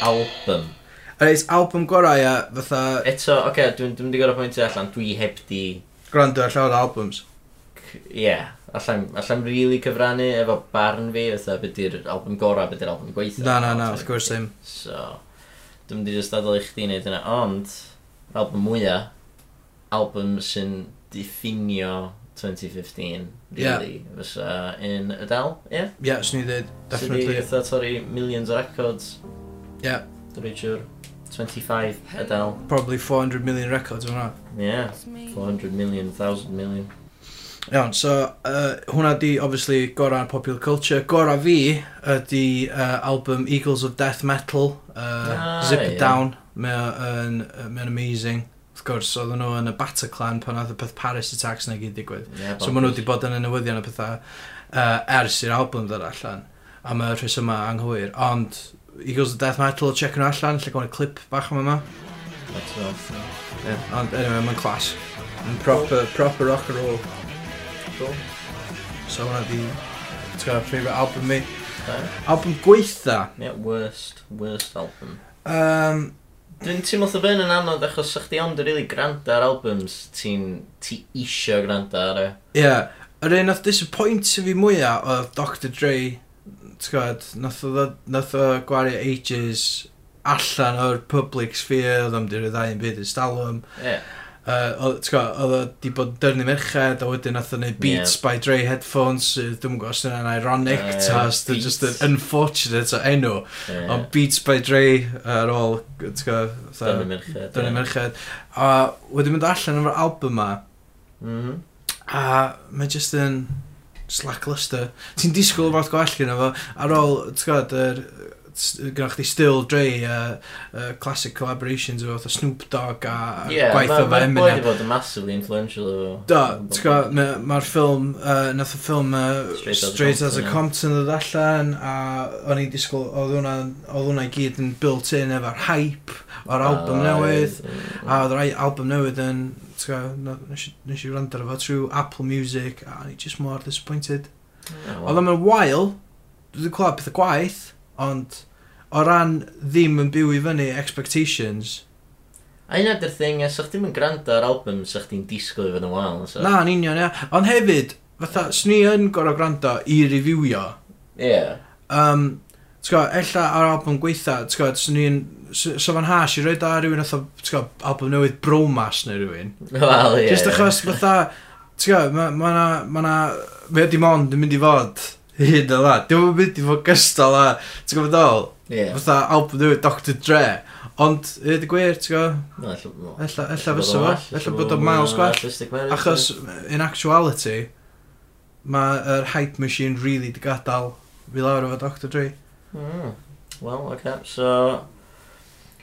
S2: album.
S3: Reit, album gorau a fatha
S2: Eto, oce, okay, dwi'n dwi mynd i gorau pwyntio allan, dwi heb di...
S3: Gwrando ar llawer o albums
S2: c- Ie, yeah, allan, allan really cyfrannu efo barn fi, fatha beth di'r album gorau, beth di'r album gweithio.
S3: Na, na, na, wrth gwrs ddim
S2: So, dwi'n mynd i just adael i chdi wneud yna, ond, album mwyaf, album sy'n diffinio 2015, really, yeah. fysa in Adele, ie? Yeah?
S3: Ie, yeah, swn i ddweud,
S2: Sydd
S3: definitely
S2: i fatha torri millions o records.
S3: Yeah.
S2: Dwi'n siŵr, 25 Adele.
S3: Probably 400 million records o'n hwnna
S2: Yeah, 400 million, 1000 million.
S3: Iawn, so uh, hwnna di, obviously, gorau ar popular culture Gorau fi ydi uh, album Eagles of Death Metal uh,
S2: Ah,
S3: Zip
S2: ie.
S3: It Down Mae o'n mae o'n amazing Wrth gwrs, oedden nhw yn y Bataclan pan oedd y peth Paris Attacks na gyd digwydd
S2: Yeah,
S3: So maen nhw wedi bod yn y newyddion y pethau uh, ers i'r album ddod allan a mae'r rhys yma anghywir ond Eagles of Death Metal check nhw allan lle gwaith clip bach yma yma yeah. ond anyway mae'n clas mae'n proper, proper rock and roll
S2: Cool.
S3: so hwnna di ti'n gwybod favourite album mi album gweitha
S2: Yeah, worst, worst album.
S3: um,
S2: Dwi'n teimlo oedd yn yn anodd achos sa'ch di ond yn really granta ar albums ti'n ti isio granta ar e.
S3: yeah yr un nath disappoint fi mwyaf oedd Dr Dre ti'n gwybod nath o ddod- nath o gwario ages allan o'r public sphere oedd am di ryddau yn byd yn stalwm
S2: Yeah.
S3: Uh, oedd ti'n gwbod, oedd o di bod yn dyrnu merched a wedyn nath o'n neud Beats
S2: Ie.
S3: by Dre headphones sydd dwi'n gwybod os dyna'n ironic
S2: Yy,
S3: ta os dyna'n
S2: Beats.
S3: just an unfortunate o enw
S2: yeah.
S3: ond Beats by Dre ar ôl ti'n gwbod fatha,
S2: Dyna merched.
S3: dyrnu merched a wedyn mynd allan efo'r album ma
S2: Mm.
S3: a mae just yn slackluster ti'n disgwyl fath gwell gyda fo ar ôl ti'n gwybod yr s- gynnwch chi still Dre a uh, classic collaborations efo fatha Snoop Dogg a a
S2: Yeah,
S3: gwaith o fe
S2: mae'n bod
S3: Eminem
S2: i fod yn massively influential efo.
S3: Do, ti'n gwybod, mae'r ma ma'r ffilm, uh, nath y ffilm uh,
S2: Straight Outta
S3: Straight Outta
S2: Compton,
S3: Compton ddod allan a o'n i disgwyl, oedd hwnna, oedd hwnna i gyd yn built in efo'r hype o'r
S2: Ah,
S3: album newydd a oedd rai album newydd yn, ti'n gwybod, na- nes i- nes i rand ar efo trwy Apple Music a o'n i just more disappointed. Oedd o'n wael, dwi wedi clywed pethau gwaith, ond o ran ddim yn byw i fyny expectations,
S2: A un o'r thing, sa'ch ddim yn granta ar album sa'ch di'n disgwyl i fod yn wael. so-
S3: na, yn union, ia. Ond hefyd, fatha, swn i yn gorau gwrando i reviewio,
S2: Ie.
S3: um, ti'n gwybod, ella ar album gweitha, ti'n gwybod, swn i'n, s- so fan hash i roed ar rhywun oedd, ti'n gwybod, album newydd Bromas neu rhywun.
S2: Wel, ie.
S3: Yeah. Just achos, fatha, ti'n gwybod, ma, ma na, ma na, mae o dim ond yn mynd i fod hyn o dda. Dim ond mynd i fod gystal a, ti'n gwybod ddol,
S2: Ie.
S3: fatha album newydd Dr Dre. Ond, y di gwir, ti'n gwybod,
S2: Wel, ella- wel,
S3: ella,
S2: ella
S3: ella
S2: bod
S3: fysa
S2: o'n
S3: fo,
S2: well,
S3: ella bod o'n
S2: bod
S3: miles
S2: o'n
S3: gwell.
S2: artistic merit,
S3: Achos, in actuality, mae'r hype machine really di gadael fi lawr efo Dr Dre.
S2: Mm. Wel, oce. So,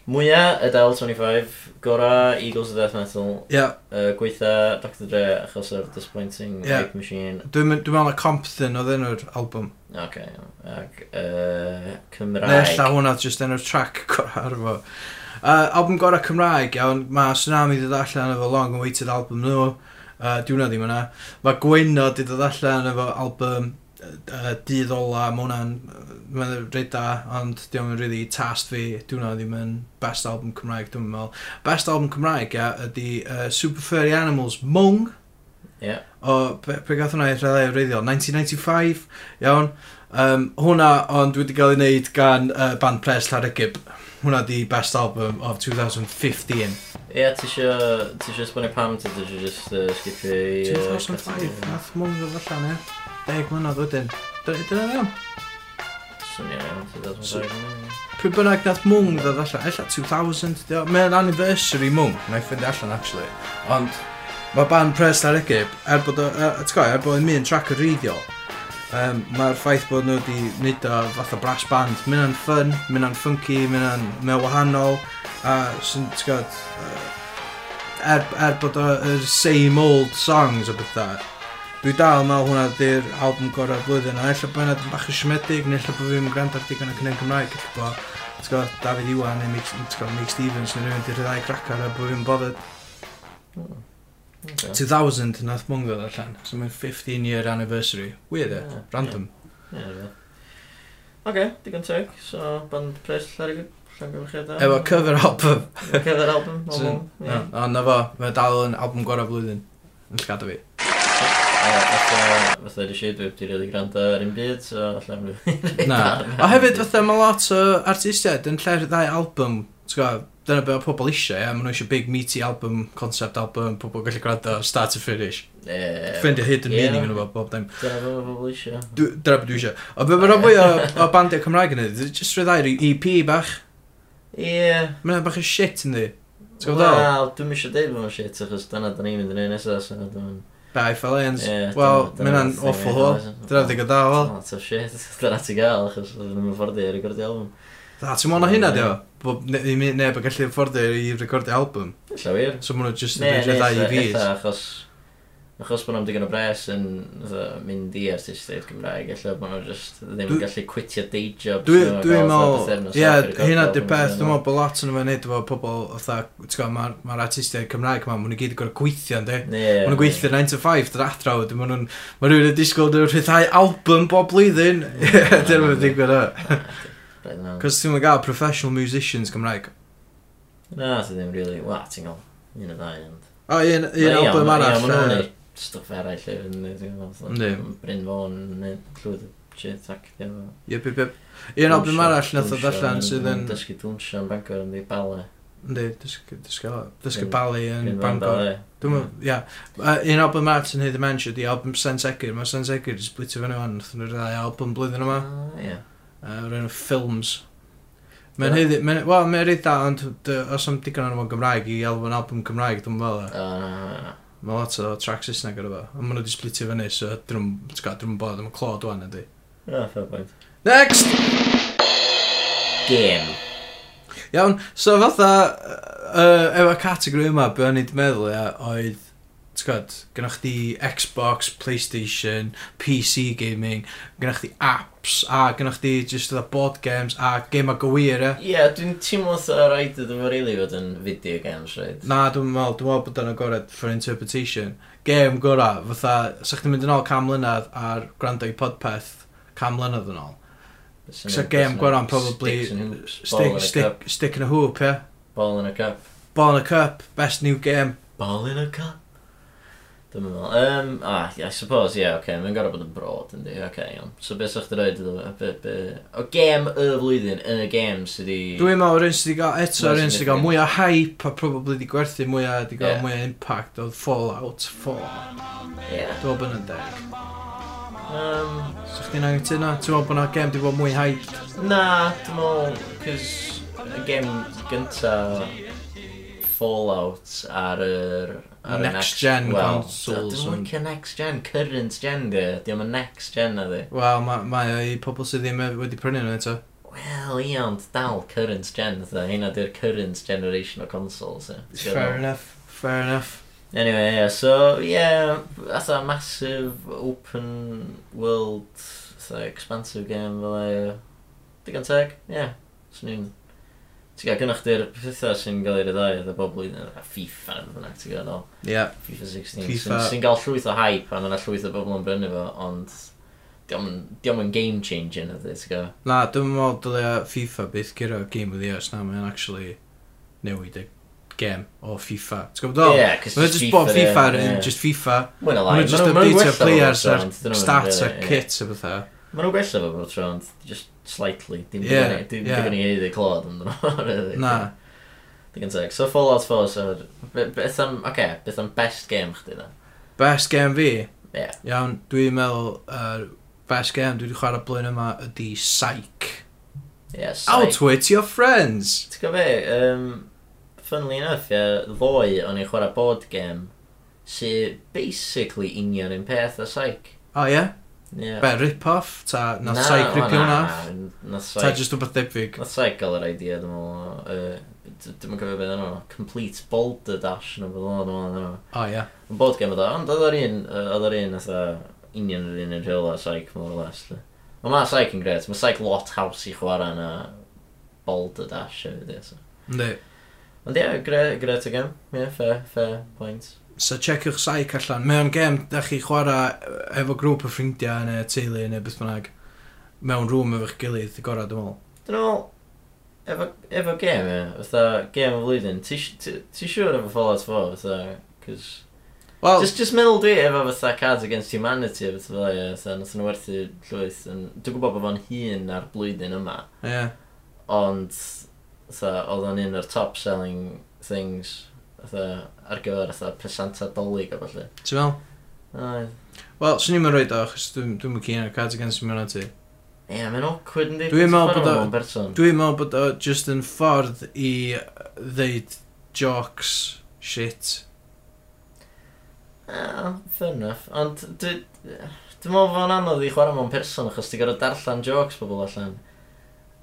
S2: mwyaf Adele 25, gora Eagles of Death Metal,
S3: Ia,
S2: uh, gweitha Dr Dre achos o'r Disappointing
S3: Ie.
S2: Hype Machine.
S3: Dwi'n mynd- dwi'n meddwl na Compton oedd enw'r album.
S2: Oce, iawn. ac uh,
S3: Neu ella
S2: Cymraeg.
S3: hwnna just enw'r track gorau ar fo. Uh, album gorau Cymraeg, iawn, mae Tsunami dod allan efo long awaited album nhw. Uh, Dwi'n hwnna ddim yna. Mae Gwyno di dod allan efo album uh, dydd ola, mae hwnna'n mae'n rhaid da, ond diolch yn really tast fi, dwi'n hwnna ddim yn best album Cymraeg, dwi'n meddwl. Best album Cymraeg ia, ydy uh, Super Furry Animals Mung,
S2: Ie.
S3: o pe, pe gath hwnna i rhaid reiddiol, 1995, iawn. Um, hwnna, ond wedi cael ei wneud gan uh, band Pres Llaregib. Hwnna di best album of 2015.
S2: Ie, ti isio... Ti isio sbwni pam ti, ti isio just uh, skipio i... yy,
S3: 2005,
S2: categori?
S3: nath mwng o allan, ia. Deg mlynedd wedyn. Dyna dyna iawn.
S2: Swnio iawn, 2005.
S3: Pryd bynnag nath mwng ddod allan, ella 2000, dio- mae'n anniversary mwng, na i ffindi allan actually. Ond, mae band Pres ar Egypt, er bod, o- er, ti'n gwybod, er bod yn mynd track yn reiddiol, um, mae'r ffaith bod nhw wedi wneud o fatha brass band, mynd yn ffyn, mynd yn funky, mynd yn mewn wahanol, a sy'n, ti'n gwybod, er, er bod o- yr same old songs o bethau, Dwi dal yn meddwl hwnna di'r album gorau'r flwyddyn, a ella bod hwnna dyn bach yn siomedig, neu ella bod fi'n gwrando'r digon o cynnig Cymraeg, ydych bo, ti'n gwybod, David Iwan, neu Mick, ti'n gwbod, Mick Stevens, neu rhywun di'r ddau cracar a bod fi'n bothered.
S2: Ocê.
S3: 2000 nath mwng ddod allan, so mae'n 15 year anniversary. Weird e,
S2: Ie,
S3: random.
S2: Ie, ie. Oce, digon teg. So, band pres llarig llongyfarchiad da.
S3: Efo cover album,
S2: Efo cyfer album. o
S3: Sy'n-
S2: hwn, ie.
S3: yeah. ond na fo, mae dal yn album gorau'r flwyddyn, yn llgada fi.
S2: Ie, fatha- Fatha di shit web, ti'n rhaid i gwrando ar un byd, so allan rwy'n...
S3: Na, a hefyd fatha mae lot o artistiaid yn lle'r ddau album, ti'n gwybod, dyna be o pobl eisiau, ia, maen nhw eisiau big meaty album, concept album, pobl gallu gwrando start to finish. Ffendio hidden
S2: Ie.
S3: meaning yn efo bob dim.
S2: Dyna fe mae pobl eisiau.
S3: Dw- Dyna beth dwi eisiau. Ond be mae'n rhan fwy o, o bandiau Cymraeg yn edrych, jyst rhyddai'r EP E bach.
S2: Ie.
S3: Mae'n bach o shit yn di. Ti'n gwybod ddol?
S2: Wel, dwi'm eisiau deud bod yn shit, achos dyna da ni'n mynd yn ei nesaf, so dwi'n...
S3: Bai Falens.
S2: Ie,
S3: Wel,
S2: dyna-
S3: mae'n
S2: dyna'r
S3: an
S2: thing,
S3: awful
S2: ie,
S3: hwl.
S2: dyna-
S3: Dyna ddigon da hwl.
S2: Oh, tough shit. Dyna ti gael, achos ddim yn fforddi i recordio album.
S3: Da, ti'n mwyn o hynna di o? Bob ne- i mi- neb yn gallu fforddio i recordio album.
S2: Lla wir.
S3: So maen nhw jyst
S2: Ne,
S3: yn edrych
S2: ne,
S3: ddau i
S2: eitha-
S3: fi.
S2: eitha, achos... Achos bod nhw'n digon o bres yn fatha, mynd i artistiaid Cymraeg, ella bod nhw just ddim yn
S3: Dwi-
S2: gallu quitio day jobs.
S3: Dwi-
S2: nhw a
S3: Dwi'n
S2: gael fatha
S3: meddwl,
S2: bythefnos
S3: ie,
S2: off i recordio
S3: hynna di'r
S2: albums neu
S3: peth, dwi'n meddwl bod lot yn ymwneud efo pobl, otha, ti'n gwybod, mae'r ma artistiaid Cymraeg ma, maen nhw gyd yn gorau gweithio, ynddi?
S2: nhw. Ie.
S3: Maen nhw'n gweithio 9 to 5, dyna adra, wedyn maen nhw'n, maen nhw'n disgwyl nhw'n rhyddhau album bob blwyddyn.
S2: Mm.
S3: Dyna mae'n digwydd o.
S2: Right now.
S3: Cos ti'n mynd gael professional musicians Cymraeg.
S2: Na, ti ddim really... Wa, ti'n gael. Un o ddau, ond...
S3: O, un,
S2: Ie,
S3: un album
S2: ond- ie,
S3: arall.
S2: ma' nhw'n
S3: yy,
S2: neud Stwff eraill hefyd, yndi, ti'n gwbod, fatha,
S3: Yndi.
S2: Bryn Fôn, neu llwyd o shit actio.
S3: Yep, yep, yep. Un album arall nath o allan sydd yn...
S2: Dysgu dwnsio yn Bangor yn di bale.
S3: Ynddi, dysgu- dysgu- dysgu
S2: Bryn-
S3: balu yn
S2: Bryn Fôn
S3: Bangor.
S2: Bale.
S3: Dwi'n meddwl, ia. Yy, Un album arall sy'n hyd dementia, di album Sensegir. Mae Sensegir wedi splitio fyny o'n, nath nhw'r ddau album blwyddyn yma.
S2: Ah, Ie.
S3: Yr enw Films. Mae'n
S2: Ie.
S3: hyd... Wel, mae'n rhaid da, ond dy- os am digon o'n Gymraeg i elfen album Cymraeg, dwi'n meddwl.
S2: O, na, na, na.
S3: Mae lot o track Saesneg ar efo. A maen nhw wedi splitio fyny, so dyn nhw'n bod, dyn nhw'n clod o'n ydy.
S2: Na, fair point.
S3: Next!
S2: Game.
S3: Iawn, so fatha, uh, efo categori yma, be o'n i'n meddwl, ia, oedd, ti'n gwybod, gynnwch chdi Xbox, Playstation, PC gaming, gynnwch chdi apps, a gynnwch chdi just oedd board games, a game ag o wir, ia.
S2: Ie, dwi'n teimlo sa rhaid ydyn nhw rili fod yn video games, rhaid.
S3: Na, dwi'n meddwl, dwi'n meddwl bod yn agored for interpretation. Game gora, fatha, sa'ch chi'n mynd yn ôl cam mlynedd ar gwrando i podpeth cam mlynedd yn ôl. So game gora yn probably
S2: Sticks and hoops, ball
S3: stick,
S2: in a cup.
S3: stick, stick in a hoop, yeah.
S2: Ball in a cup.
S3: Ball in a cup, best new game.
S2: Ball in a cup. Dwi'n meddwl. Um, ah, I suppose, ie, yeah, oce. Okay, Mae'n gorau bod yn broad, yndi. Oce, okay, iawn. So beth sa'ch di roed iddo? fe? Be, be... O gem y flwyddyn yn y gem sydd i...
S3: Dwi'n meddwl, yr un sydd wedi gael, eto,
S2: Mwy
S3: yr un sydd wedi gael
S2: significant.
S3: mwy o hype a probably wedi gwerthu mwy o, wedi gael
S2: Ie.
S3: mwy o impact, oedd Fallout 4.
S2: Yeah.
S3: Dwi'n meddwl yn y deg.
S2: Um,
S3: Sa'ch chi'n anghytuno? Ti'n meddwl bod yna game wedi bod mwy hype?
S2: na, dwi'n meddwl, cys y gem gynta Fallout ar yr... Ar y
S3: Next gen
S2: wel,
S3: consoles
S2: Dwi'n
S3: and-
S2: meddwl next gen, current gen, di. Dwi'n meddwl next gen, na, di.
S3: Wel, mae ma i pobl sydd ddim e- wedi prynu nhw eto.
S2: Wel, ie, ond dal current gen, dda. Hynna di'r current generation o consoles, ie. Ti'n gwbod?
S3: enough. Fair enough.
S2: Anyway, yeah, so, yeah, that's a massive open world, so expansive game fel e. ie. Digon teg, yeah. Swn i'n... Ti'n gael, gynnwch chi'r pethau sy'n gael ei ryddai oedd y bob blwyddyn, a FIFA neu fynnag, ti'n gael,
S3: Ie. Yeah.
S2: FIFA 16,
S3: FIFA.
S2: sy'n- sy'n gael llwyth o hype, a mae yna llwyth o bobl yn brynu fo, ond
S4: Diolch yn game changing ydy, ti'n gwybod?
S3: Na, dwi'n meddwl dylia FIFA byth gyda Game of the Year, na, mae'n actually newid y gêm o FIFA. Ti'n gwybod
S4: Ie,
S3: ddol?
S4: 'cause
S3: Mae'n
S4: just
S3: just bob
S4: FIFA,
S3: FIFA,
S4: ie, ie.
S3: yeah. just FIFA. Mae'n
S4: Mae'n alai.
S3: just update players a'r stats a'r kits a bethau.
S4: Mae nhw'n gwella fo bod tron, just slightly. Dim
S3: Ie,
S4: yeah, dim
S3: ie.
S4: yeah. digon i hyd i clod yn dod.
S3: Na,
S4: Digon teg. So Fallout 4, so... be- Beth am, oce, okay, beth am best game chdi da?
S3: best game fi,
S4: Ie.
S3: iawn, dwi'n meddwl, uh, best game dwi wedi chwarae blwyddyn yma ydi Psych.
S4: Ie, Psych.
S3: Outwit your friends!
S4: Ti'n gwybod be, um, funnily enough, ie, ddoe o'n i'n chwarae board game sydd basically union yn peth a Psych.
S3: O oh, ie? Yeah?
S4: Ie.
S3: Be, rip-off? Ta, nath
S4: Na,
S3: Psych
S4: o,
S3: ripio hwnna?
S4: na, Nath
S3: Ta
S4: Psych
S3: just wbeth debyg?
S4: Nath Saig gael yr idea, dwi'n meddwl, yy, d- dwi'm yn cofio beth yna, complete boulder dash yn o'r bydda, dwi'n meddwl,
S3: O ie.
S4: yna. Yn bod game oedd o, ond oedd o'r un, yy, oedd o'r un, oedd union yr un yn rheol a Saig, mor o les, dwi. Ond mae Saig yn gret, mae Saig lot haws i chwarae na boulder dash hefyd, ie, so.
S3: Yndi.
S4: Ond ie, gre- gret o game, ie, fair, fair point.
S3: So checiwch Psych allan. Mae o'n gem da chi chwarae yy, efo grŵp o ffrindiau neu teulu neu beth bynnag. Mewn rŵm efo'ch gilydd i gorau dwi'n meddwl.
S4: Dwi'n meddwl, efo, efo game, ie, fatha, game o flwyddyn, ti si- ti- ti siŵr efo Fallout 4, fatha, cos...
S3: Wel,
S4: Just, just meddwl dwi efo fatha Cards Against Humanity a beth fel e, ie, fatha nath nhw werthu llwyth yn... Dwi'n gwybod bod fo'n hun ar blwyddyn yma,
S3: ie.
S4: ond fatha oedd o'n un o'r top selling things fatha ar gyfer fatha pesanta dolig a falle.
S3: Ti'n meddwl?
S4: Oedd.
S3: Wel, swn i'n rhaid o, achos dwi'n dwi'n mwyn cyn o'r Cards Against Humanity.
S4: Ie, mae'n awkward yn dweud.
S3: Dwi'n meddwl bod o-
S4: o'n berson.
S3: Dwi'n meddwl bod o just yn ffordd i ddeud jokes, shit.
S4: Ah, fair enough. Ond dwi... Dwi'n meddwl fo'n anodd i chwarae mewn person achos ti'n gorfod darllen jokes pobl allan.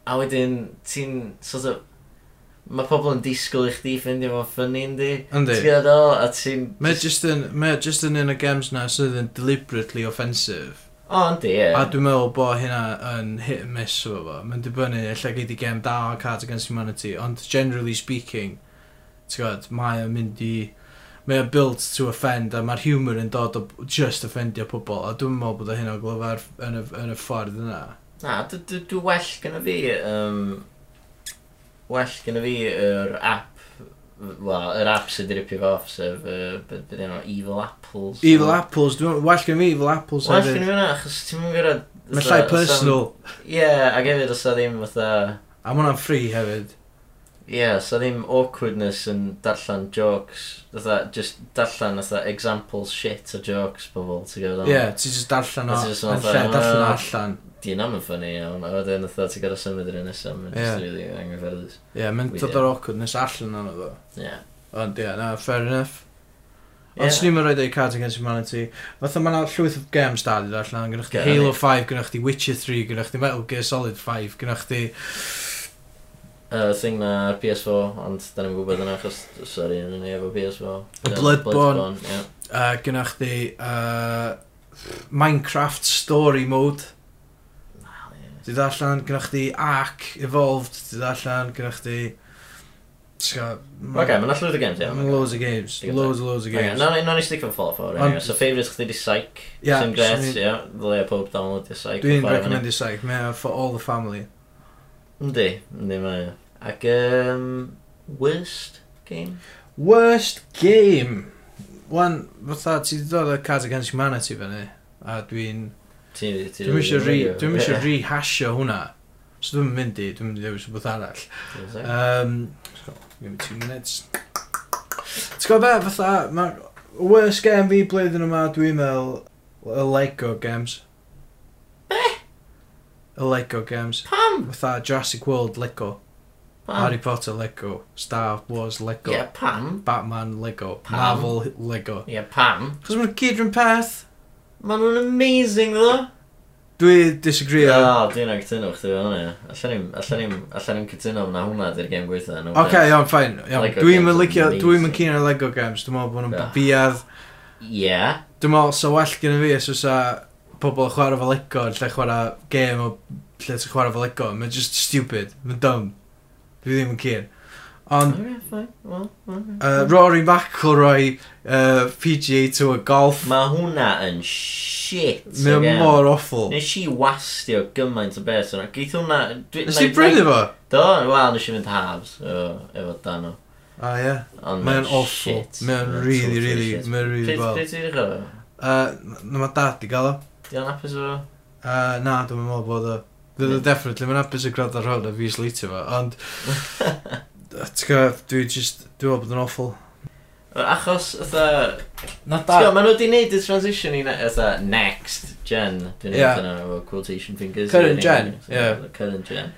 S4: A wedyn ti'n sort of... Mae pobl yn disgwyl i chdi ffeindio fo'n ffynnu yndi.
S3: Yndi.
S4: Ti'n gwybod o, a ti'n...
S3: Mae just yn, mae just yn un o games na sydd yn deliberately offensive.
S4: O, yndi, ie.
S3: A dwi'n meddwl bod hynna yn hit and miss efo fo. Mae'n dibynnu, lle gei di gem da o Cards Against Humanity, ond generally speaking, ti'n gwybod, mae o'n mynd i... Mae o'n built to offend, a mae'r humour yn dod o just offendio pobl, a dwi'n meddwl bod o hynna o glyfar yn y, yn y ffordd yna.
S4: Na, dw- dw- dwi well gyda fi... Um, well gyda fi yr app... Wel, yr app sydd wedi ripio fo off, sef... Uh, Bydd yna Evil Apples.
S3: Evil Apples, dwi'n meddwl, well gen i fi Evil Apples
S4: Well gyda
S3: hefyd.
S4: fi yna, achos ti'n mynd gyda...
S3: Mae'n llai personal,
S4: Ie, yeah, ac hefyd os a ddim fatha...
S3: a mae hwnna'n free hefyd.
S4: Ie, yeah, so ddim awkwardness yn darllan jokes. Fatha, just darllan fatha examples shit o jokes pobl, ti'n gwybod?
S3: Ie, yeah, ti'n just darllen o,
S4: Ti jyst yn
S3: yn lle
S4: fatha,
S3: darllen o
S4: "Ah."
S3: allan.
S4: Di yna mae'n ffynnu iawn, a wedyn fatha ti'n gyda symud yr un nesaf, mae'n
S3: Ie.
S4: just really anghyffyrddus.
S3: Ie, yeah, mae'n
S4: We
S3: dod
S4: do.
S3: o'r awkwardness allan o'n o.
S4: Ie. Yeah.
S3: Ond ie, na, fair enough.
S4: Ie.
S3: Ond swn i'n rhaid ei Cards Against Humanity. Fatha mae'na llwyth o games da di allan. Gynnwch chi
S4: Ie,
S3: Halo
S4: ydi.
S3: 5, gynnwch chi Witcher 3, gynnwch chi Metal Gear Solid 5, gynnwch chi...
S4: Uh, thing na ar PS4, ond da ni'n gwybod yna achos, sorry, yn ni efo PS4.
S3: Y
S4: Ie,
S3: Bloodborne.
S4: ie.
S3: Uh, gynnwch chi... Uh, Minecraft Story Mode. Di allan, gynnwch chi Ark Evolved, di allan, gynnwch chi...
S4: Oce, mae'n allwyd o games, ie.
S3: Mae'n loads of games,
S4: Digon
S3: loads and loads of
S4: Okay,
S3: games.
S4: no, no, no, stick for Fallout 4. Anyway.
S3: Ond-
S4: So, favourites chdi di Psych.
S3: Ie,
S4: Sy'n gret,
S3: swn
S4: ie.
S3: i-
S4: Yeah, Ddylai pob download di Psych.
S3: Dwi'n
S4: Chwarae fyny.
S3: recommend i saith, mae o for all the family.
S4: Yndi, yndi mae o. Ac um, worst game?
S3: Worst game! Wan, fatha, ti di dod o Cards Against Humanity fyny, a dwi'n...
S4: Ti- ti-
S3: Dwi'n eisiau re,
S4: Ie.
S3: dwi'n eisiau rehashio hwnna. So dwi'n mynd i, dwi'n mynd i ddewis rhywbeth arall.
S4: Ti'n gwbod?
S3: Um, so, give me two minutes. T'w gwybod be, fatha, mae'r worst game fi blwyddyn yma, dwi'n meddwl, y Lego games. Be? Y Lego games. Pam? Fatha Jurassic World Lego, Harry
S4: Pam?
S3: Potter Lego, Star Wars Lego,
S4: Ie, pam?
S3: Batman Lego,
S4: Pam?
S3: Marvel Lego.
S4: Ie, pam?
S3: Chos mae'n gyd rhywun peth.
S4: Maen nhw'n amazing ddo!
S3: Dwi disagree.
S4: O,
S3: Yeah.
S4: dwi'n ag cytuno chdi fe hwnna. Allan ni'n allan ni'n cytuno na hwnna di'r game gweitha. no
S3: Oce, okay,
S4: offence.
S3: iawn, ffain. iawn.
S4: Lego
S3: Dwi'n
S4: games
S3: mynd
S4: are
S3: licio, dwi'n mynd
S4: amazing.
S3: cyn ar Lego games. Dwi'n meddwl bod nhw'n
S4: Ah.
S3: biad.
S4: Ie.
S3: Dwi'n meddwl, sa well gen i fi, os fysa pobl yn chwarae fel Lego, yn lle chwarae game o lle ti'n chwarae fel Lego. Mae'n just stupid. Mae'n dumb. Dwi ddim yn cyn. Ond
S4: Okay, fine. Well, okay.
S3: uh, Rory McIlroy uh, PGA Tour Golf
S4: Mae hwnna yn shit.
S3: Mae o
S4: again.
S3: mor awful
S4: Nes i wastio gymaint o beth yna. Geith hwnna... dwi-
S3: Nes i
S4: like-
S3: brynu
S4: like-
S3: fo?
S4: Do, wel, nes i fynd halves efo, efo dan o.
S3: A ie
S4: Ond
S3: Mae o'n
S4: mae'n
S3: awful.
S4: Oh, shit.
S3: Mae o'n
S4: Mae'n
S3: really,
S4: totally
S3: really-
S4: shit.
S3: mae o'n really
S4: Pryd-
S3: wel.
S4: Pryd ti'n ddechrau?
S3: Uh, Na mae dad i gael o
S4: Di o'n apus efo?
S3: Uh, na, dwi'n meddwl bod o... Dwi'n
S4: Ie.
S3: yeah. definitely, mae'n apus y gwrdd ar hwn a fi sleetio fo, ond... Ti'n gwybod, dwi'n just, dwi'n meddwl bod yn awful.
S4: Achos, ytha...
S3: Na
S4: Ti'n gwybod, maen nhw wedi gwneud y transition i ne- ytha next gen. Dwi'n
S3: Ie.
S4: gwneud yna efo quotation fingers.
S3: Current
S4: Ie,
S3: gen,
S4: so,
S3: ie.
S4: Current gen.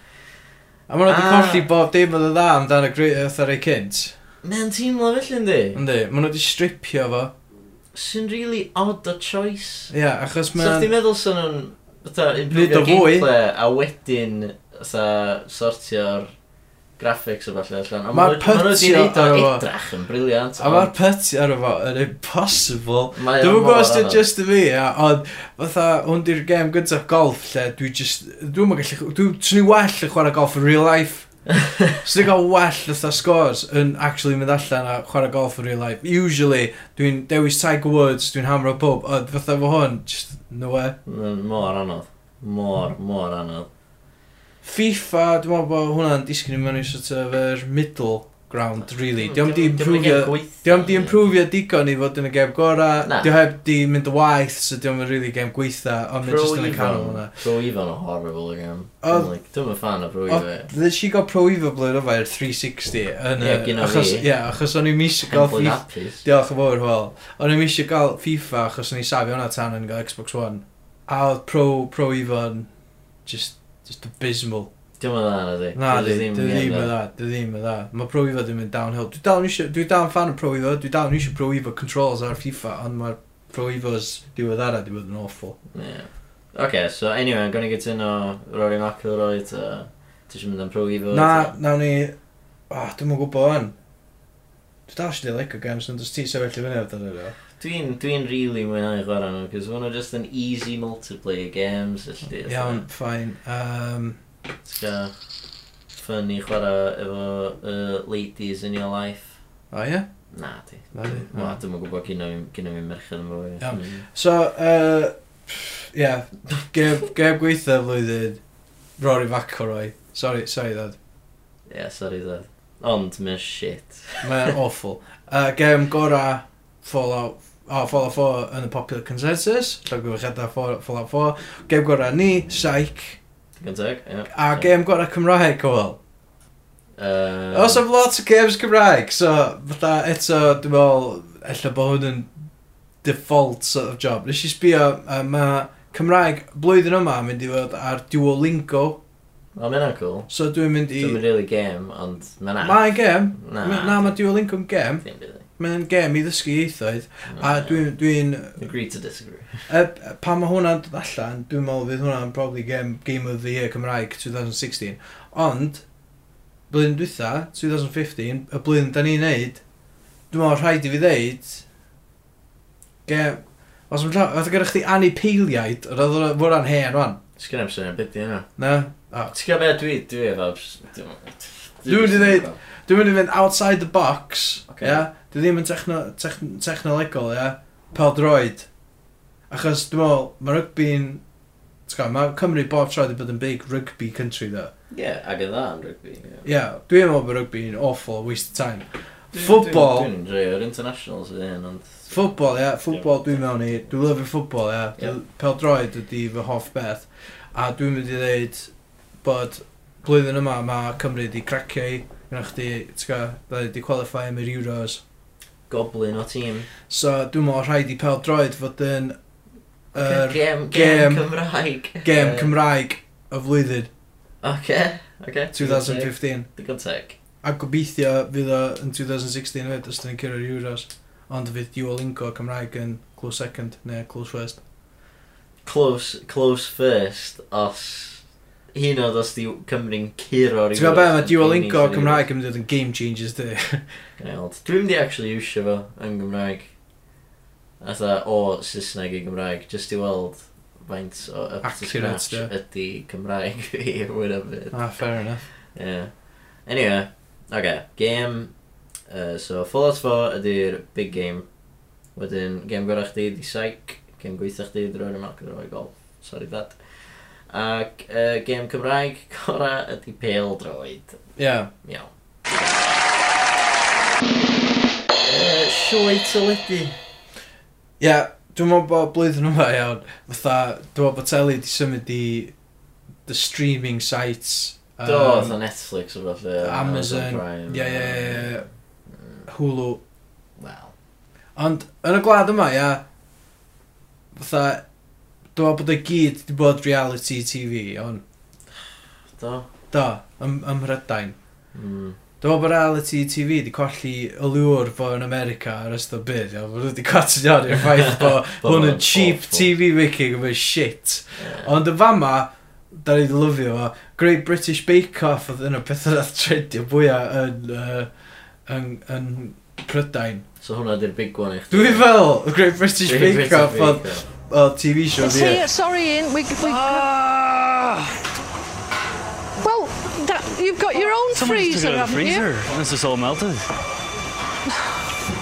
S3: A maen nhw wedi
S4: Ah.
S3: colli bob dim oedd y dda amdan y gwyth ar ei cynt.
S4: Mae'n teimlo felly yndi?
S3: Yndi, maen nhw wedi stripio fo.
S4: Sy'n really odd o choice.
S3: Ie, yeah, achos
S4: So
S3: mae'n...
S4: ti'n meddwl sy'n nhw'n fatha
S3: Neud
S4: improvio
S3: o fwy.
S4: gameplay a wedyn fatha sortio'r graphics o falle allan.
S3: Ma'r
S4: Ma'r
S3: putio
S4: pwtio ar
S3: ar
S4: efo.
S3: efo.
S4: Edrach yn briliant.
S3: A mae'r putty ar efo yn impossible.
S4: Mae
S3: Dwi'n
S4: o
S3: gwybod
S4: mor
S3: os dwi'n
S4: anodd.
S3: just y fi, ia, ond fatha, hwn di'r gêm gyntaf golf lle dwi just, dwi'n mynd gallu, dwi'n swn i well yn chwarae golf yn real life. Swn i'n cael well fatha scores yn actually mynd allan a chwarae golf yn real life. Usually, dwi'n dewis Tiger Woods, dwi'n hamro pob, ond fatha fo hwn, just, no way.
S4: Ma'n Mor anodd. Mor, mor anodd.
S3: FIFA, dwi'n meddwl bod hwnna'n disgyn i mewn i sort of yr middle ground, really. Diolch di
S4: Diom- diom Hmm, yn
S3: improve
S4: gweithio.
S3: Di o'n di improfio digon i fod yn y gem gorau,
S4: Na.
S3: di o heb di mynd y waith, so di o'n really gem gweitha, ond mae'n
S4: Pro
S3: just yn y canol
S4: Evo-
S3: hwnna.
S4: Pro Evo'n horrible again.
S3: Oedd-
S4: Dwi'n yn fan o Pro
S3: Oedd-
S4: Evo.
S3: Ddes i gael pro efo blwyddyn ofa i'r 360 yn y...
S4: Ie, gynna
S3: achos,
S4: fi.
S3: Ie, achos o'n i'n misio gael
S4: Hempel
S3: FIFA...
S4: hapus.
S3: Diolch yn fawr, wel. O'n i'n misio gael FIFA achos o'n i'n safio hwnna tan o'n i'n gael Xbox One. A oedd pro, pro efo yn just, just abysmal.
S4: Dwi'n yn dda na di.
S3: Na,
S4: Dwi
S3: di,
S4: ddim
S3: di
S4: yn
S3: ddim
S4: iawn,
S3: yn dda, di ddim yn dda. Mae pro efo di mynd downhill. Dwi dal yn isio, dwi dal yn fan o pro efo, dwi dal yn isio pro efo controls ar FIFA, ond mae'r pro efo's diweddara di bod yn awful.
S4: Yeah. Okay, so anyway, I'm gonna get in o Rory McIlroy to... Ti eisiau mynd am Pro Evo?
S3: Na,
S4: ta?
S3: nawn ni... Ah, dwi'n mwyn gwybod o'n. Dwi dal eisiau like o games, ond os ti sefyll i fyny amdano nhw.
S4: Dwi'n dwi really mwynhau chwarae nhw, cos maen nhw just an easy multiplayer games, ylldi.
S3: Iawn, ffain. Um,
S4: Ska, funny chwarae efo uh, ladies in your life.
S3: o ie?
S4: Na, di.
S3: Na di,
S4: Ma,
S3: na.
S4: dwi'n gwybod gyda fi gyda fi merched yn fwy.
S3: Iawn. So, uh, pff, ie, yeah, geb, geb gweithio flwyddyn, Rory McIlroy. Sorry, sorry dad.
S4: Yeah, sorry, dad. Ond, mae'n shit.
S3: Mae'n awful. Uh, gem gora Fallout Oh, Fallout 4 yn y popular consensus, llogyfrichiadau Fall- Fallout 4, gem gorau ni, Psych,
S4: Gynteg, ie.
S3: a gem gorau Cymraeg, Cywel.
S4: Uh,
S3: Os am lot o games Cymraeg, so fatha eto, dwi'n meddwl, ella bod hwn yn default sort of job. Nes i sbio, uh, mae Cymraeg blwyddyn yma yn mynd i fod ar Duolingo,
S4: O, mae'n cool.
S3: so dwi'n mynd i...
S4: Dwi'n mynd really game, ond mae'n app.
S3: Mae'n gem,
S4: Na.
S3: na mae Duolingo'n gem,
S4: Dim byd.
S3: mae'n gem i ddysgu ieithoedd, a dwi'n... Dwi
S4: Agree to disagree.
S3: pan mae hwnna'n dod allan, dwi'n meddwl fydd hwnna'n probably game, game of the Year Cymraeg 2016, ond, blwyddyn dwytha, 2015, y blwyddyn da ni'n neud, dwi'n meddwl rhaid i fi ddeud, game, os yw'n llawn, oedd gyda chdi anifeiliaid, oedd oedd o'n fwrdd hen rwan,
S4: Sgyn am syniad beth di yna.
S3: na? O.
S4: Ti'n gael beth dwi, dwi efo... abs- dim-
S3: Dwi wedi dweud- Dwi'n mynd i fynd outside the box,
S4: Ocê.
S3: okay. yeah? dwi ddim yn techno, techn, technolegol, yeah? pel droid. Achos dwi'n meddwl, mae rygbi'n, mae Cymru bob tro wedi bod yn big rugby country, though.
S4: Ie, ac yn dda am rygbi.
S3: Ie, yeah, dwi'n meddwl bod rygbi'n awful waste of time. Football,
S4: Dwi'n dreio'r internationals ydy hyn, ond...
S3: football, ie, yeah, football dwi'n mewn i, dwi'n lyfio football, ie, yeah.
S4: Ie.
S3: pel droed ydi fy hoff beth, a dwi'n mynd i ddeud bod blwyddyn yma mae Cymru wedi cracio i, gyda chdi, ti'n gwybod, dda wedi qualify am yr Euros,
S4: Goblin o tîm.
S3: so dwi'n meddwl rhaid i pel droed fod yn yr
S4: Gem,
S3: gem-
S4: gem Cymraeg.
S3: gem
S4: Yy,
S3: Cymraeg y flwyddyn
S4: Oce, oce.
S3: 2015.
S4: Digon teg.
S3: A gobeithio fydd o yn 2016 hefyd, os da ni'n cyrra'r Euros. Ond fydd Duolingo Cymraeg yn close second, neu close first.
S4: Close, close first, os... Hyn oedd os di Cymru'n curo...
S3: Ti'n gwybod be, mae Duolingo Cymraeg yn mynd i fod yn game changers dy.
S4: Gwneud. Dwi'n mynd i actually iwsio fo yn Gymraeg. Atha o Saesneg i Gymraeg, just i weld faint o up to
S3: Accurate,
S4: scratch ydi Cymraeg fi, whatever.
S3: Ah, fair enough.
S4: Yeah. Anyway, Oce, game... Uh, so, Fallout 4 ydy'r big game. Wedyn, game gorau chdi di Psych. Game gweitha chdi drwy'r yma, drwy'r gol. Sorry, dad. Ac uh, game Cymraeg gorau ydy Pale Droid.
S3: Yeah.
S4: Iawn. Uh, sioe teledu.
S3: Yeah, dwi'n meddwl bod blwyddyn yma iawn, fatha, dwi'n meddwl bod teli di symud i the streaming sites.
S4: Do, oedd o Netflix o fath
S3: Amazon, yeah, yeah, yeah, yeah. Hulu.
S4: Wel,
S3: Ond, yn y gwlad yma, ia, fatha, dwi'n meddwl bod y gyd wedi bod reality TV, ond,
S4: do.
S3: do, ym, ym Mhrydain.
S4: Mm.
S3: Dwi'n meddwl bod reality TV wedi colli y lŵr fo yn America ar ystod byd, ia, bod wedi cotio i'r ffaith bod
S4: Bod
S3: hwn
S4: hwnna'n
S3: yn cheap
S4: awful.
S3: TV making of a shit.
S4: Yeah.
S3: Ond yn fama, da ni wedi lyfio fo, Great British Bake Off oedd yna peth oedd trendio fwyaf yn, uh, yn, yn Prydain.
S4: So hwnna di'r big one i chdi.
S3: Dwi'n fel, y Great British
S4: Big
S3: Bake
S4: British
S3: Off oedd
S4: Bake Off.
S3: oedd TV show
S5: See,
S3: fi.
S5: sorry, Ian. We, we,
S6: Ah,
S5: well, that, you've got your own
S6: Someone just took
S5: freezer,
S6: it out of
S5: haven't
S6: the
S5: you?
S6: freezer. And it's just all melted.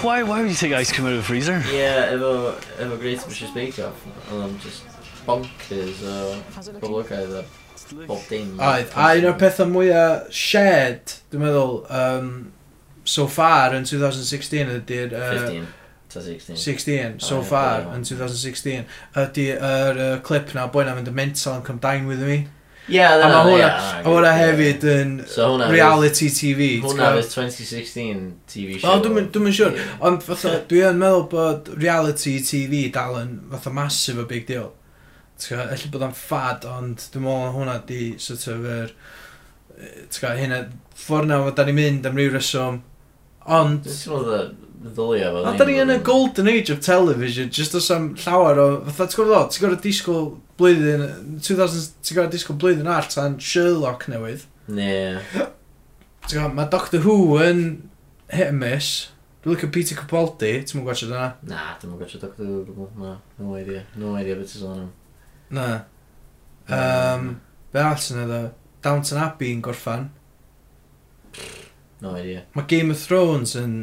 S6: Why, why would you take ice cream out of the freezer?
S4: Yeah, efo, efo Great British Bake Off, oedd o'n just bonkers o boblogaeth a bob dim.
S3: Oedd, a un o'r pethau mwyaf shared, dwi'n meddwl, um, so far yn 2016 ydy'r... Uh,
S4: 15 to 16.
S3: 16, so
S4: Oh, yeah,
S3: far,
S4: go on.
S3: yn 2016, ydy'r uh, clip na, boi na fynd yn mental yn come down with me. A
S4: Yeah, dyna-
S3: mae hwnna,
S4: yeah,
S3: a hwnna
S4: yeah.
S3: hefyd yn
S4: So hwnna
S3: reality TV. ti'n
S4: Hwnna
S3: gwbod?
S4: fydd 2016 TV show.
S3: O, dwi'n dwi'n yn siŵr.
S4: Yeah.
S3: Ond fatha, dwi yn meddwl bod reality TV dal yn fatha massive a big deal. Elly bod o'n ffad, ond dwi'n meddwl na hwnna di sort of yr... yy, T'w gael, hynna, ffordd na fod da ni'n mynd am ryw reswm. Ond,
S4: Dwi'n teimlo dda ddolio fo.
S3: a da ni yn y golden age of television, just os am llawer o... Fatha, ti'n gwybod o, ti'n gwybod disgwyl blwyddyn... 2000, ti'n gwybod disgwyl blwyddyn ar tan Sherlock newydd.
S4: Ne.
S3: Ti'n gwybod, mae Doctor Who yn hit and miss. Dwi'n licio Peter Capaldi, ti'n mwyn gwachod yna?
S4: Na, dwi'n mwyn gotcha Doctor Who o gwbl. Na, no idea. No idea beth sy'n am.
S3: Na. Um, be alls yna ddo? Downton Abbey yn gorffan.
S4: No idea.
S3: Mae Game of Thrones yn,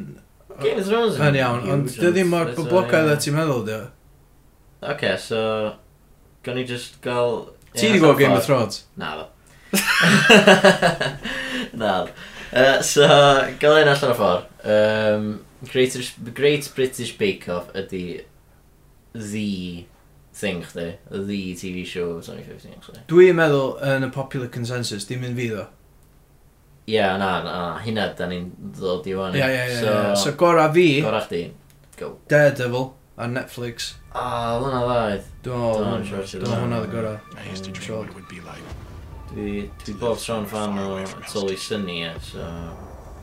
S4: Game of Thrones
S3: yn iawn, ond dy ddim mor boblogaeth a ti'n meddwl dio.
S4: Ok, so... Gawn ni just gael...
S3: Ti di gweld Game of Thrones?
S4: Na fo. Na fo. Yy, Uh, So, gael un allan o ffordd. Um, Great, Great British Bake Off ydy the thing chdi. The TV show of 2015, actually.
S3: Dwi'n meddwl yn y popular consensus, dim yn fi ddo.
S4: Ie, yeah, na, na, na, hynna da ni'n ddod i wan.
S3: Ia, ia, ia. So gora fi,
S4: Gorau chdi. Go.
S3: Daredevil ar Netflix.
S4: O, oh, hwnna ddaeth.
S3: Dwi'n
S4: Dwi'n
S3: meddwl,
S4: siŵr sydd
S3: dwi'n meddwl
S4: yn.
S3: hwnna ddo gora.
S2: I used to
S3: Mm,
S2: dream
S3: sure.
S2: what it would be like,
S4: Dwi, dwi bob tro'n fan o Tully Sunny, ie, so...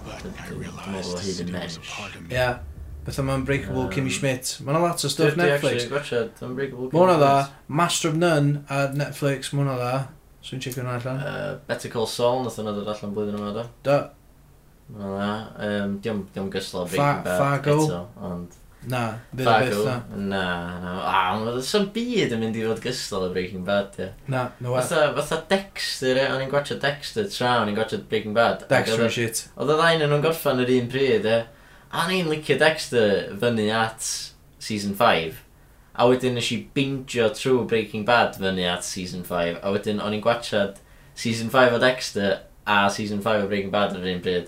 S2: but
S4: Dun-
S2: I
S4: dun-
S2: realized
S4: dun-
S2: this
S4: dun-
S2: was a
S4: dun-
S2: part of me.
S3: Ia. Beth yma Unbreakable
S4: Yym.
S3: Kimmy Schmidt. Mae'n lot o stuff Netflix.
S4: Gwachod, Unbreakable.
S3: Mae hwnna dda, Master of None ar Netflix, mae hwnna dda. Swy'n checio hwnna allan.
S4: Uh, Better Call Saul, nath yna dod allan blwyddyn yma, do.
S3: Da,
S4: Mae'n dda. Um, diom, diom gyslo
S3: Fa-
S4: Breaking Bad
S3: Fargo?
S4: eto, ond...
S3: na, bydd y beth
S4: Fargo?
S3: na.
S4: Na, na. A, mae'n sy'n byd yn mynd i fod gyslo y Breaking Bad, ie.
S3: Na, no way.
S4: Fatha, fatha Dexter, ie. O'n i'n gwachod Dexter tra, o'n i'n gwachod Breaking Bad. ac
S3: Dexter
S4: oedd
S3: and
S4: y-
S3: shit.
S4: Oedd y ddain yn nhw'n gorffan yr un pryd, e. A ni'n licio Dexter fyny at season 5. A wedyn nes i bingio trwy Breaking Bad fyny at season 5. A wedyn o'n i'n gwachad season 5 o Dexter a season 5 o Breaking Bad ar yr un pryd.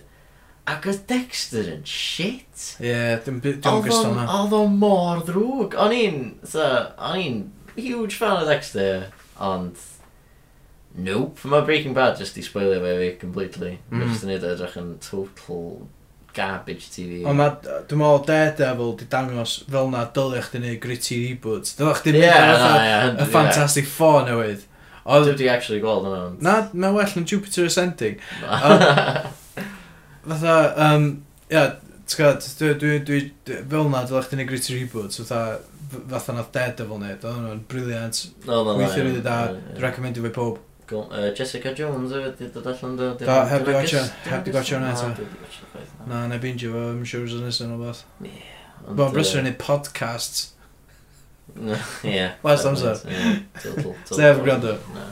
S4: Ac oedd Dexter yn shit.
S3: Ie, dwi'n dwi'n
S4: Oedd
S3: gystal
S4: o'n
S3: na.
S4: oedd o'n mor ddrwg. O'n i'n, so, o'n i'n huge fan o Dexter, ond... Nope, mae Breaking Bad just i spoilio fe fi completely. Mm.
S3: Mm.
S4: Just yn neud o edrych yn total garbage TV.
S3: Ond ma, dwi'n meddwl Daredevil di dangos fel na dylech di neud gritty reboot. Dylech di
S4: Ie,
S3: neud
S4: na,
S3: fatha
S4: ie,
S3: y
S4: hundred,
S3: Fantastic Four newydd. Oedd,
S4: Dwi wedi actually gweld yna. ond-
S3: na, mae'n well yn Jupiter Ascending.
S4: Na.
S3: Fatha, um, ia, ti'n gwybod, dwi, dwi, dwi, dwi- fel na dylech di neud gritty reboot. Fatha, f- fatha nath Daredevil neud, oedd hwnnw'n briliant.
S4: Oedd o'n dda,
S3: Weithio rydw da,
S4: ie, ie.
S3: dwi'n recommendo fe pob.
S4: Cool. Yy, Jessica Jones hefyd wedi dod allan do.
S3: Do, heb di watcha- heb di watcha hwnna eto. Na, na bingio fo, I'm sure it's nesaf o'n beth. Bo'n brysur yn neud podcasts.
S4: Ie.
S3: Last amser.
S4: Ie, total- total-
S3: Sef gwrando.
S4: Na.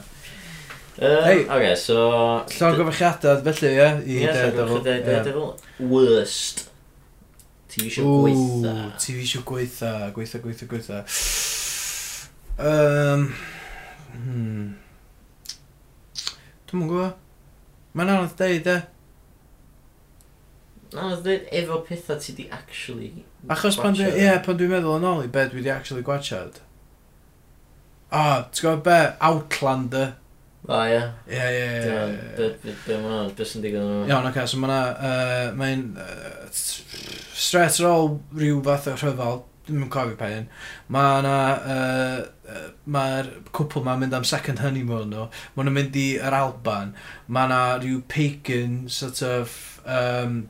S4: Hey.
S2: Uh,
S3: Hey.
S4: Okay, so...
S3: Llawn gofychiadad felly, ie? I
S4: Ie, so
S3: Daredevil.
S4: gwrdd i
S3: Ie.
S4: Daredevil. Worst. TV show
S3: Ww,
S4: gweitha.
S3: TV show gweitha, gweitha, gweitha, gweitha. Um, hmm. Dwi'n mwyn gwybod. Mae'n anodd deud e.
S4: Na, oedd dweud efo pethau ti di actually...
S3: Achos pan dwi-
S4: gwatsiad.
S3: ie, pan dwi'n meddwl yn ôl i be dwi wedi actually gwachad. Ah, ti'n gwybod be? Outlander.
S4: O, ie.
S3: Ie, ie, ie, ie.
S4: Be mae'n beth sy'n digwydd yn
S3: Iawn, oce, so mae'na, uh, mae'n uh, straight ar ôl rhyw fath o rhyfel, ddim yn cofio pa un, mae'na, uh, mae'r cwpl ma'n mynd am second honeymoon nhw, mae nhw'n mynd i yr Alban, mae'na rhyw pagan sort of um,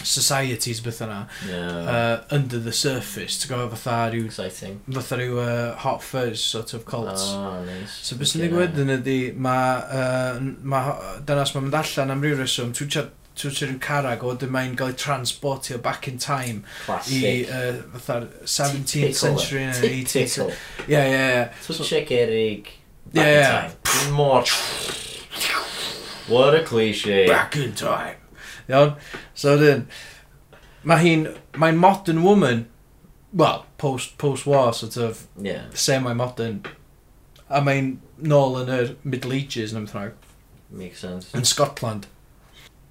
S3: societies beth yna,
S4: Ie.
S3: uh, under the surface, ti'n gofio fatha rhyw,
S4: Exciting.
S3: fatha rhyw uh, hot fuzz sort of
S4: O,
S3: cults.
S4: nice.
S3: So beth sy'n digwydd yn ydy, mae uh, ma, dynas mae'n mynd allan am ryw reswm, twtio rhyw carag, o dyn mae'n gael ei transportio back in time i
S4: Classic.
S3: uh, fatha'r 17th century neu 18th century.
S4: century.
S3: Ie, ie, ie.
S4: Twtio gerig.
S3: Ie, ie.
S4: Mor... What a cliché.
S3: Back in time. Iawn? So dyn, mae hi'n, mae'n modern woman, well, post, post-war sort of,
S4: Ie.
S3: semi-modern, a mae'n nôl yn yr Middle Ages neu beth bynnag,
S4: Makes sense.
S3: yn Scotland.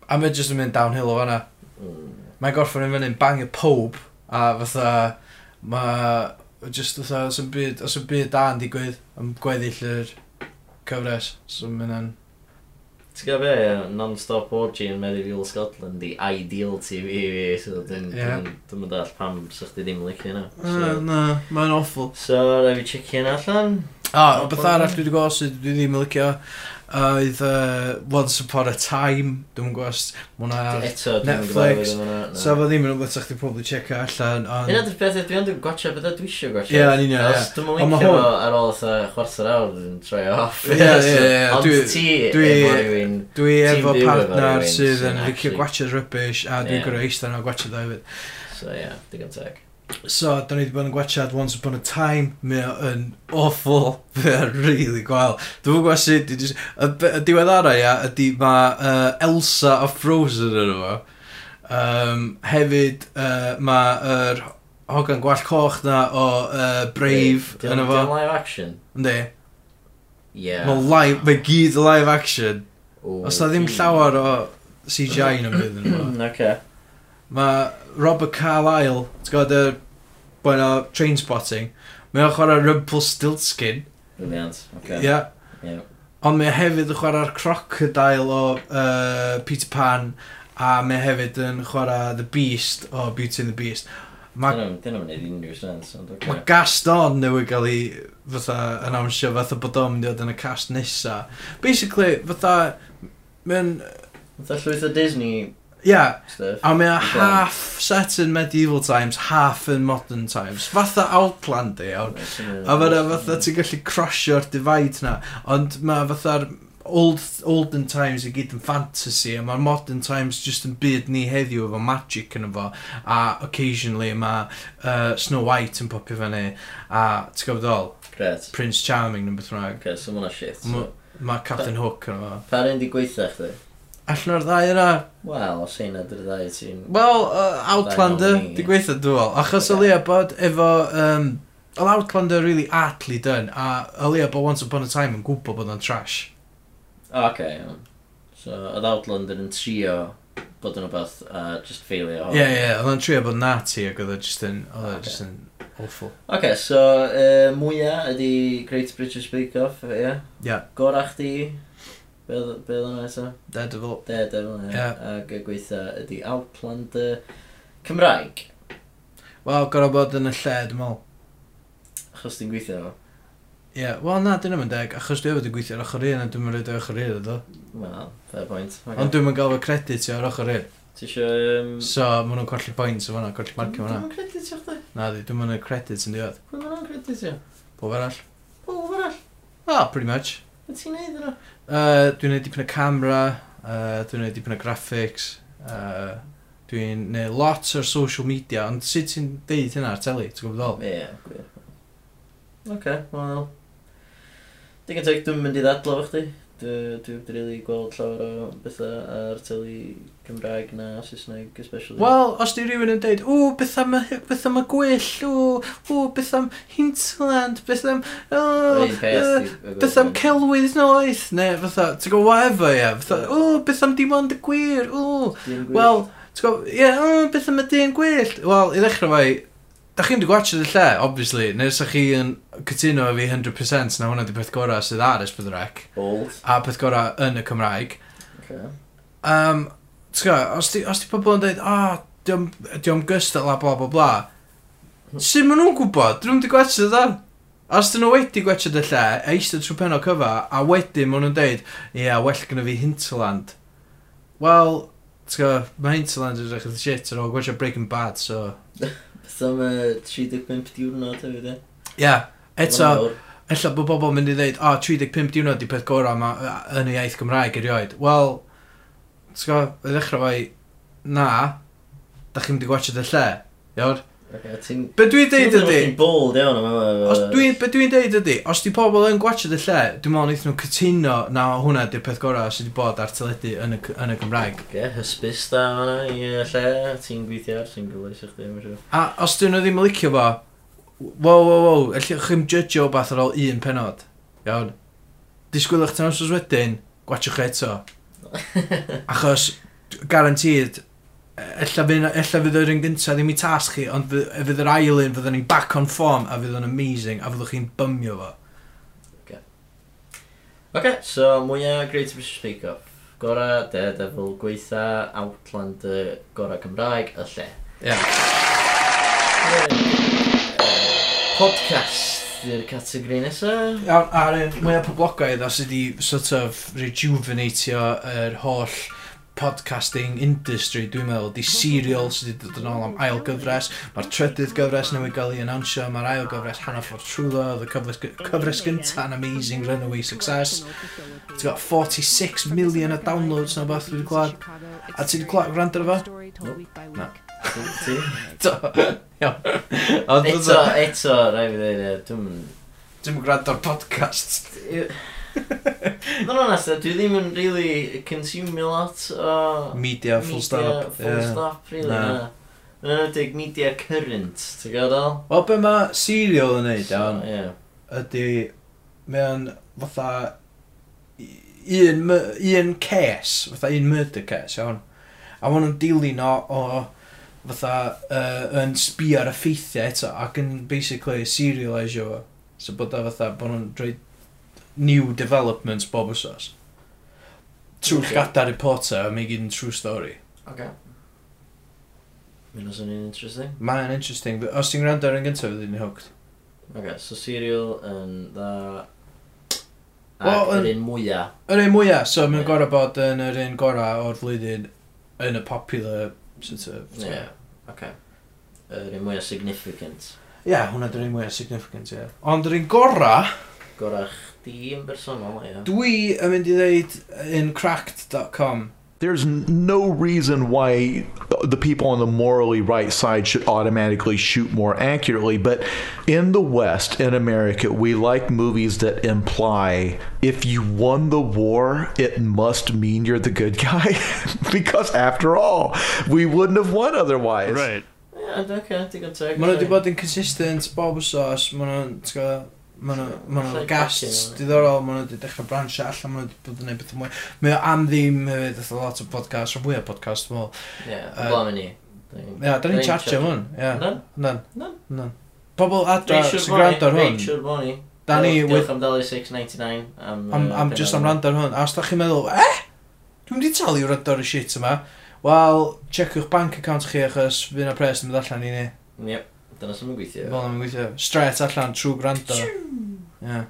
S3: A mae'n just yn mynd downhill o fanna.
S4: Mm.
S3: Mae'n gorffen yn fyny'n bang y pob a fatha mae just fatha os yn byd os yn byd da'n digwydd am gweddill yr cyfres so mae'n yn
S4: Ti'n gwybod be, ie, non-stop orgy in medieval Scotland, the ideal TV fi, so dwi'n
S3: Ie.
S4: dwi'n dall pam sych chi ddim yn licio hynna.
S3: uh,
S4: So-
S3: na mae'n awful
S4: So, rai fi checio hynna allan.
S3: a oh, beth arall dwi wedi gweld sydd dwi ddim yn licio oedd uh, Once Upon a Time dwi'n gwybod mwna
S4: Eto, dwi'n
S3: Netflix.
S4: gwybod hynna.
S3: so fo ddim yn rhywbeth sa'ch ti'n probably check allan ond
S4: Hynna dwi'n peth, dwi'n dwi'n gwachio beth dwi eisiau gwachio.
S3: Ie, yn union, ie.
S4: Dwi'n
S3: Ond
S4: mwyn
S3: ma'
S4: licio
S3: hwn-
S4: ar ôl eitha chwarter awr, dwi'n troi off.
S3: Ie, ie, ie,
S4: So,
S3: dwi-
S4: Ond ti,
S3: dwi-
S4: efo rywun...
S3: dwi
S4: Ti'n
S3: efo
S4: byw efo
S3: partner
S4: rywun
S3: sydd
S4: sy'n
S3: yn licio
S4: actually-
S3: gwachod rubbish a dwi'n
S4: Ie.
S3: gwrdd eistedd yna gwachod o hefyd
S4: So, ie, digon teg.
S3: So, da ni wedi bod yn gwachad Once Upon a Time, mae o yn awful, mae o'n really gwael. Dwi'n mwyn gwybod sut, dwi jyst- y be- y diwedd ara ia, ydy mae uh, Elsa a Frozen yn efo. Um, hefyd, uh, mae'r hogan gwall coch na o uh, Brave
S4: Di-
S3: yn
S4: di-
S3: efo.
S4: di o'n live action?
S3: Ynddi,
S4: Ie.
S3: mae live, mae gyd live action.
S4: O,
S3: Os na ddim
S4: fi-
S3: llawer o CGI yn ymwneud yn efo.
S4: Oce.
S3: Mae Robert Carlyle, ti'n gwybod y boen o Trainspotting, mae o'n chwarae Rumpelstiltskin,
S4: Brilliant.
S3: ia.
S4: Oce.
S3: Yeah.
S4: Ie.
S3: Ond mae o hefyd yn chwarae'r Crocodile o uh, Peter Pan, a mae o hefyd yn chwarae The Beast o Beauty and the Beast. Mae
S4: Dyn nhw'n gwneud unrhyw sens, ond
S3: ma
S4: oce.
S3: Gaston newydd gael ei fatha annawnsio fatha bod o'n mynd i fod yn y cast nesa. Basically, fatha, mae'n,
S4: Fytha llwyth o Disney
S3: ia, yeah,
S4: stuff.
S3: A mae o
S4: Go on.
S3: half set in medieval times, half in modern times. Fatha Outlander, iawn. A fyna fatha ti'n gallu croesio'r divide na. Ond mae fatha'r old, olden times i gyd yn fantasy, a mae'r modern times just yn byd ni heddiw efo magic yn efo. A occasionally mae uh, Snow White yn popio fyny, a ti'n gwybod ddol,
S4: Gret.
S3: Prince Charming yn beth rhaeg.
S4: Ok, so mae'na shit.
S3: Ma-
S4: so.
S3: Mae Captain Hook yn efo.
S4: Pa'r un di gweitha chdi?
S3: Allan o'r ddau yna,
S4: Wel, os ein adr ddau ti'n...
S3: Wel, uh, Outlander,
S4: Dau nôl i-
S3: di gweithio dwi'n fel. Achos
S4: Ie.
S3: o leia bod efo... Um, Oedd Outlander really artly done, a o leia bod Once Upon a Time yn gwybod bod o'n trash.
S4: O, Ok, iawn. So, oedd Outlander yn trio bod yn rhywbeth a just failio.
S3: Ie, ie, oedd o'n trio bod nati ac oedd o'n just yn... Oedd
S4: Ocê.
S3: o'n just yn Ah, awful.
S4: Ok, so uh, mwyaf ydi Great British Bake Off, ie? Yeah?
S3: Ie.
S4: Gorach di... Be oedd be oedd hwnna eto?
S3: Daredevil.
S4: Daredevil, ie.
S3: Ie.
S4: Ac y gweitha ydi Outlander Cymraeg.
S3: Wel, gorau bod yn y lle, dwi'n meddwl.
S4: Achos ti'n gweithio fo.
S3: Ie, yeah. wel na, dyn nhw'n deg, achos dwi wedi gweithio ar ochr un, a dwi'n mynd o'r ochr un, ydo.
S4: Wel, fair point. Okay.
S3: Ond dwi'n mynd gael fy credit i ar ochr un.
S4: Ti eisiau... Um...
S3: So, ma' nhw'n colli points o fanna, colli marcio fanna.
S4: Dwi'n credit i chdi.
S3: Na, di, dwi'n mynd o'r credit yn diwedd.
S4: Pwy mae'n credit i?
S3: Pob arall?
S4: Pob arall.
S3: Ah, pretty much.
S4: Be ti'n neud yna?
S3: Uh, dwi'n gwneud dipyn o camera, uh, dwi'n gwneud dipyn o graphics, uh, dwi'n gwneud lot o'r social media, ond sut ti'n deud hynna ar teli, ti'n gwybod ddol?
S4: Ie, gwir. Oce, wel... Dwi'n gyntaf, dwi'n mynd i ddadlo fo chdi. dy- Dwi wedi rili gweld llawer o bethau ar teli Cymraeg na Saesneg, especially.
S3: Wel, os di rhywun yn dweud, o, beth am, y- beth am y gwyll, o, o, beth am hinterland, beth am, o,
S4: Yr un peth
S3: yy,
S4: sydd efo
S3: beth am
S4: hwn.
S3: celwydd noeth, ne, fatha, ti'n gwybod, whatever, ie, fatha, o, beth am dim ond y gwir, o,
S4: Dim gwir.
S3: wel, ti'n gwybod, ie, o, beth am y dim gwyll, wel, i ddechrau fai, da chi'n di gwachod y lle, obviously, nes ydych chi yn cytuno efo fi 100% na hwnna di peth gorau sydd ar ysbydrec,
S4: Bold.
S3: a peth gorau yn y Cymraeg,
S4: Okay.
S3: um, ti'n gwybod, os di, os di pobl yn dweud, ah, diom, diom gystal a bla bla bla, sut maen nhw'n gwybod? Dyn nhw'n di gwachod dda? Os dyn nhw wedi gwachod y lle, a eistedd trwy penol cyfa, a wedyn maen nhw'n dweud, ie, yeah, well gyda fi hinterland. Wel, ti'n gwybod, mae hinterland yn rhaid shit ar ôl gwachod Breaking Bad, so...
S4: Beth am y 35 diwrnod hefyd e?
S3: Ie, yeah, eto...
S4: Wel,
S3: Ella bod bobl yn mynd i ddeud, o, oh, 35 diwrnod di peth gorau ma, yn y iaith Gymraeg erioed. Wel, ti'n gwybod, y ddechrau fai, na, da chi'n mynd i gwachod y lle, iawn?
S4: Ocê, ti'n...
S3: Be dwi'n
S4: Ti'n
S3: deud
S4: meddwl
S3: ydi,
S4: bod chi'n bold iawn am yma.
S3: os dwi, be dwi'n deud ydi, os di pobl yn gwachod y lle, dwi'n meddwl wnaethon nhw cytuno na hwnna di'r peth gorau sydd wedi bod ar teledu yn y, yn y Gymraeg.
S4: Ge, hysbys da fanna i y lle, ti'n gweithio ar singles i chdi, mae'n siŵr.
S3: A os dyn nhw ddim yn licio fo, wow, wow, wow, allwch chi'n judgeio beth ar ôl un penod, iawn? Disgwylwch tan os wedyn, gwachwch chi eto. Achos, garantid, ella fydd, ella fydd yr un gyntaf ddim i tasg chi, ond fy- y fydd yr ail un, fydd yn back on form, a fydd yn amazing, a fyddwch chi'n bymio fo.
S4: Ok, so mwyaf Great British Bake Off. Gora Daredevil, gweitha Outlander, gora Cymraeg, y lle.
S3: Ie.
S4: Podcast yw'r categori nesaf.
S3: Iawn, a'r un mwyaf poblogaidd os ydi sort of rejuvenatio yr holl podcasting industry, dwi'n meddwl, di serial sydd wedi dod yn ôl am ail gyfres, mae'r trydydd gyfres newydd gael ei announcio, mae'r ail gyfres hanner ffordd trwy ddo, oedd y cyfres, cyfres gyntaf yn amazing runaway success, ti'n got 46 million o downloads na beth dwi'n gwlad, a ti'n gwlad gwrando ar fo?
S2: No.
S4: Ti-
S3: Do, iawn. Ond
S4: Eto, eto, rai fi ddeud, dwi'n...
S3: dwi'n gwrando ar podcasts.
S4: Dwi'n honest, dwi ddim yn really consume lot o...
S3: Media, full stop.
S4: Full
S3: ie.
S4: stop, really,
S3: Na.
S4: na. Yn enwedig media current, ti'n gadael?
S3: Wel, be mae serial yn neud, iawn,
S4: Ie.
S3: ydy, mae o'n fatha i- un, mu- un case, fatha un murder case, iawn. A maen nhw'n dilyn o, o fatha uh, yn sbio ar effeithiau eto ac yn basically serialisio fo. So bod o fatha bod nhw'n rhoi new developments bob wsos. Trwy
S4: Ocê.
S3: okay. gada'r reporter, a mae i gyd yn true story.
S4: Ok. Mae'n o'n interesting.
S3: Mae'n interesting. Os ti'n gwrando ar yn gyntaf, fydd i'n hooked.
S4: Ok, so serial yn dda... Ac
S3: Wel,
S4: yr
S3: yn-
S4: un mwyaf.
S3: Yr un mwyaf, so mae'n
S4: Ie.
S3: gorau bod yn yr un gorau o'r flwyddyn yn y popular sort of...
S4: Ie, ok. Yr un mwyaf significant.
S3: Ie, hwnna dy'r un mwyaf significant, ie. Ond yr un gorau,
S4: Gorach di yn bersonol, ie.
S3: dwi yn mynd i ddeud yn cracked.com.
S7: There's n- no reason why the people on the morally right side should automatically shoot more accurately, but in the West, in America, we like movies that imply if you won the war, it must mean you're the good guy, because after all, we wouldn't have won otherwise.
S6: Right.
S4: Ie, ok, digon teg.
S3: Mae nhw wedi bod yn consistent, bob wsos, mae nhw'n, ti'n gwbod, mae nhw- mae nhw'n
S4: Allai
S3: guests
S4: bacio nhw.
S3: diddorol, mae nhw wedi dechrau bransio allan, mae nhw wedi bod yn gwneud beth mwy. Mae o am ddim hefyd, oedd lot o podcasts, rhan fwy o podcasts, dwi'n meddwl.
S4: Ie,
S3: Yy,
S4: blaen ni.
S3: Ie, da ni'n charge am hwn, ie.
S4: Nan?
S3: Nan,
S4: Nan?
S3: nan. Pobl adra sy'n
S4: Richard
S3: gwrando ar
S4: Bonny.
S3: hwn.
S4: Richard Bonny.
S3: Da ni
S4: Diolch
S3: with
S4: am dalu 6.99 am...
S3: am,
S4: yy,
S3: am just am
S4: penod.
S3: rand ar hwn. A os da chi'n meddwl, eh? Dwi'n wedi talu rand ar y shit yma. Wel, checiwch bank account chi achos fydd yna pres yn mynd allan i ni.
S4: Yep, dyna sy'n mynd gweithio.
S3: Fel yna'n gweithio. Stret allan trwy gwrando. Ie.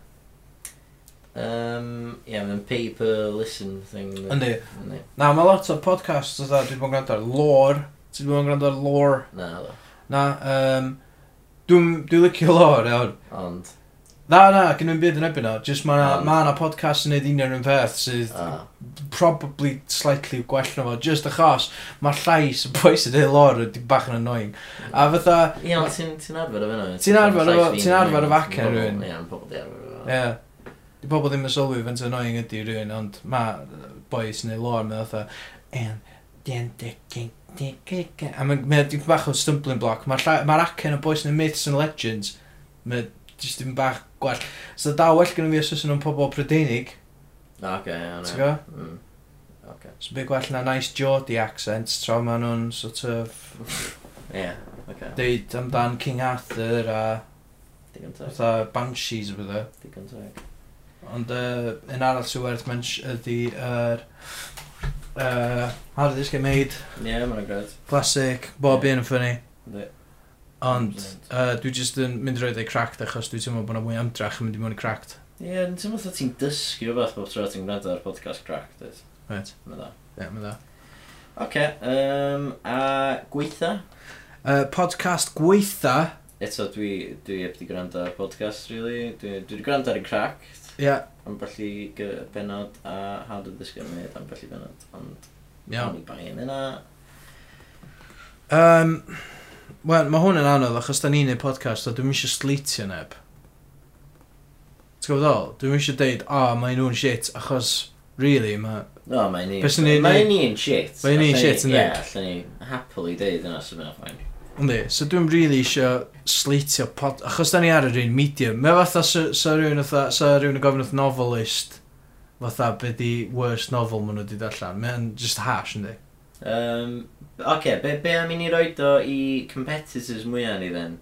S4: Um, yeah, mae'n paper listen thing.
S3: Yndi.
S4: Yndi.
S3: Na, mae lot o podcasts oedd dwi wedi bod yn gwrando ar lore. Ti wedi bod yn gwrando ar lore.
S4: Na, do.
S3: Na, um, dwi'n dwi licio lore, iawn.
S4: Ond,
S3: Na, na, gen i'n byd yn ebyn o. Just mae
S4: Ond-
S3: yna ma podcast yn neud union yn peth sydd
S4: a,
S3: probably slightly gwell na fo. Just achos mae'r llais y boi sy'n dweud lore wedi bach yn annoying. A fatha,
S4: Ie, ond ti'n ti'n arfer o fyna.
S3: Ti'n arfer efo- ti'n arfer efo acen rhywun.
S4: Ie, yn pobl di arfer o.
S3: Ie. Di pobl ddim yn sylwi faint o annoying ydi rhywun, ond mae boys neu lor mae fatha "Em, dyn, dy, gy, dy, gy, gy." A mae'n ma dipyn bach o stumbling block. Mae'r lla- mae'r acen o boys neu myths and legends, mae jyst dipyn bach gwell. So da well gen i fi os oes nhw'n pobl Brydeinig,
S4: Na, oce, iawn.
S3: ti'n gwybod?
S4: Mm. Oce.
S3: So byd gwell na nice Geordie accent, tra maen nhw'n sort of
S4: Ie, oce.
S3: deud amdan King Arthur a
S4: Digon teg.
S3: fatha Banshees o bydde.
S4: Digon teg.
S3: Ond uh, yn arall sy'n werth mens ydi yr... Uh, How did this get made?
S4: Ie, mae'n gred.
S3: Classic, bob un yn ffynnu.
S4: Yndi.
S3: Ond uh, dwi jyst yn mynd i roed ei cracked achos dwi teimlo bod yna mwy o amdrach yn mynd i mewn i cracked.
S4: Ie, yn teimlo fatha ti'n dysgu o beth bob tro ti'n gwrando ar podcast crack, dweud.
S3: Right,
S4: Mae da.
S3: ie, yeah, da.
S4: Oce, yym, a gweitha?
S3: Uh, podcast gweitha,
S4: Eto, dwi, dwi heb di gwrando ar podcast, really. Dwi, dwi di gwrando ar y crack,
S3: ie, yeah,
S4: am bellu gy- benod, a how did this get made am bellu benod, ond
S3: iawn.
S4: ni bai yn yna.
S3: Um, Wel, mae hwn yn anodd achos da ni'n neud podcast a dwi'm eisiau sleetio neb. T'w gwybod ddol? Dwi'm eisiau deud, o, oh, mae nhw'n shit achos, really, mae...
S4: No, mae ni...
S3: Byswn ni-
S4: Mae ni'n shit.
S3: Mae ni'n
S4: Allen
S3: shit,
S4: ni-
S3: yndi?
S4: Ie, allan ni happily deud yna sy'n mynd ffain.
S3: Yndi, so dwi'n really eisiau sleetio pod... Achos da ni ar yr un medium. Mae fatha sa, sa rhywun fatha... Sa rhywun yn gofyn wrth novelist fatha be di worst novel maen nhw wedi darllen. Mae'n just hash, yndi?
S4: Um, Oce, be, be am i ni roed o i competitors mwyaf ni then?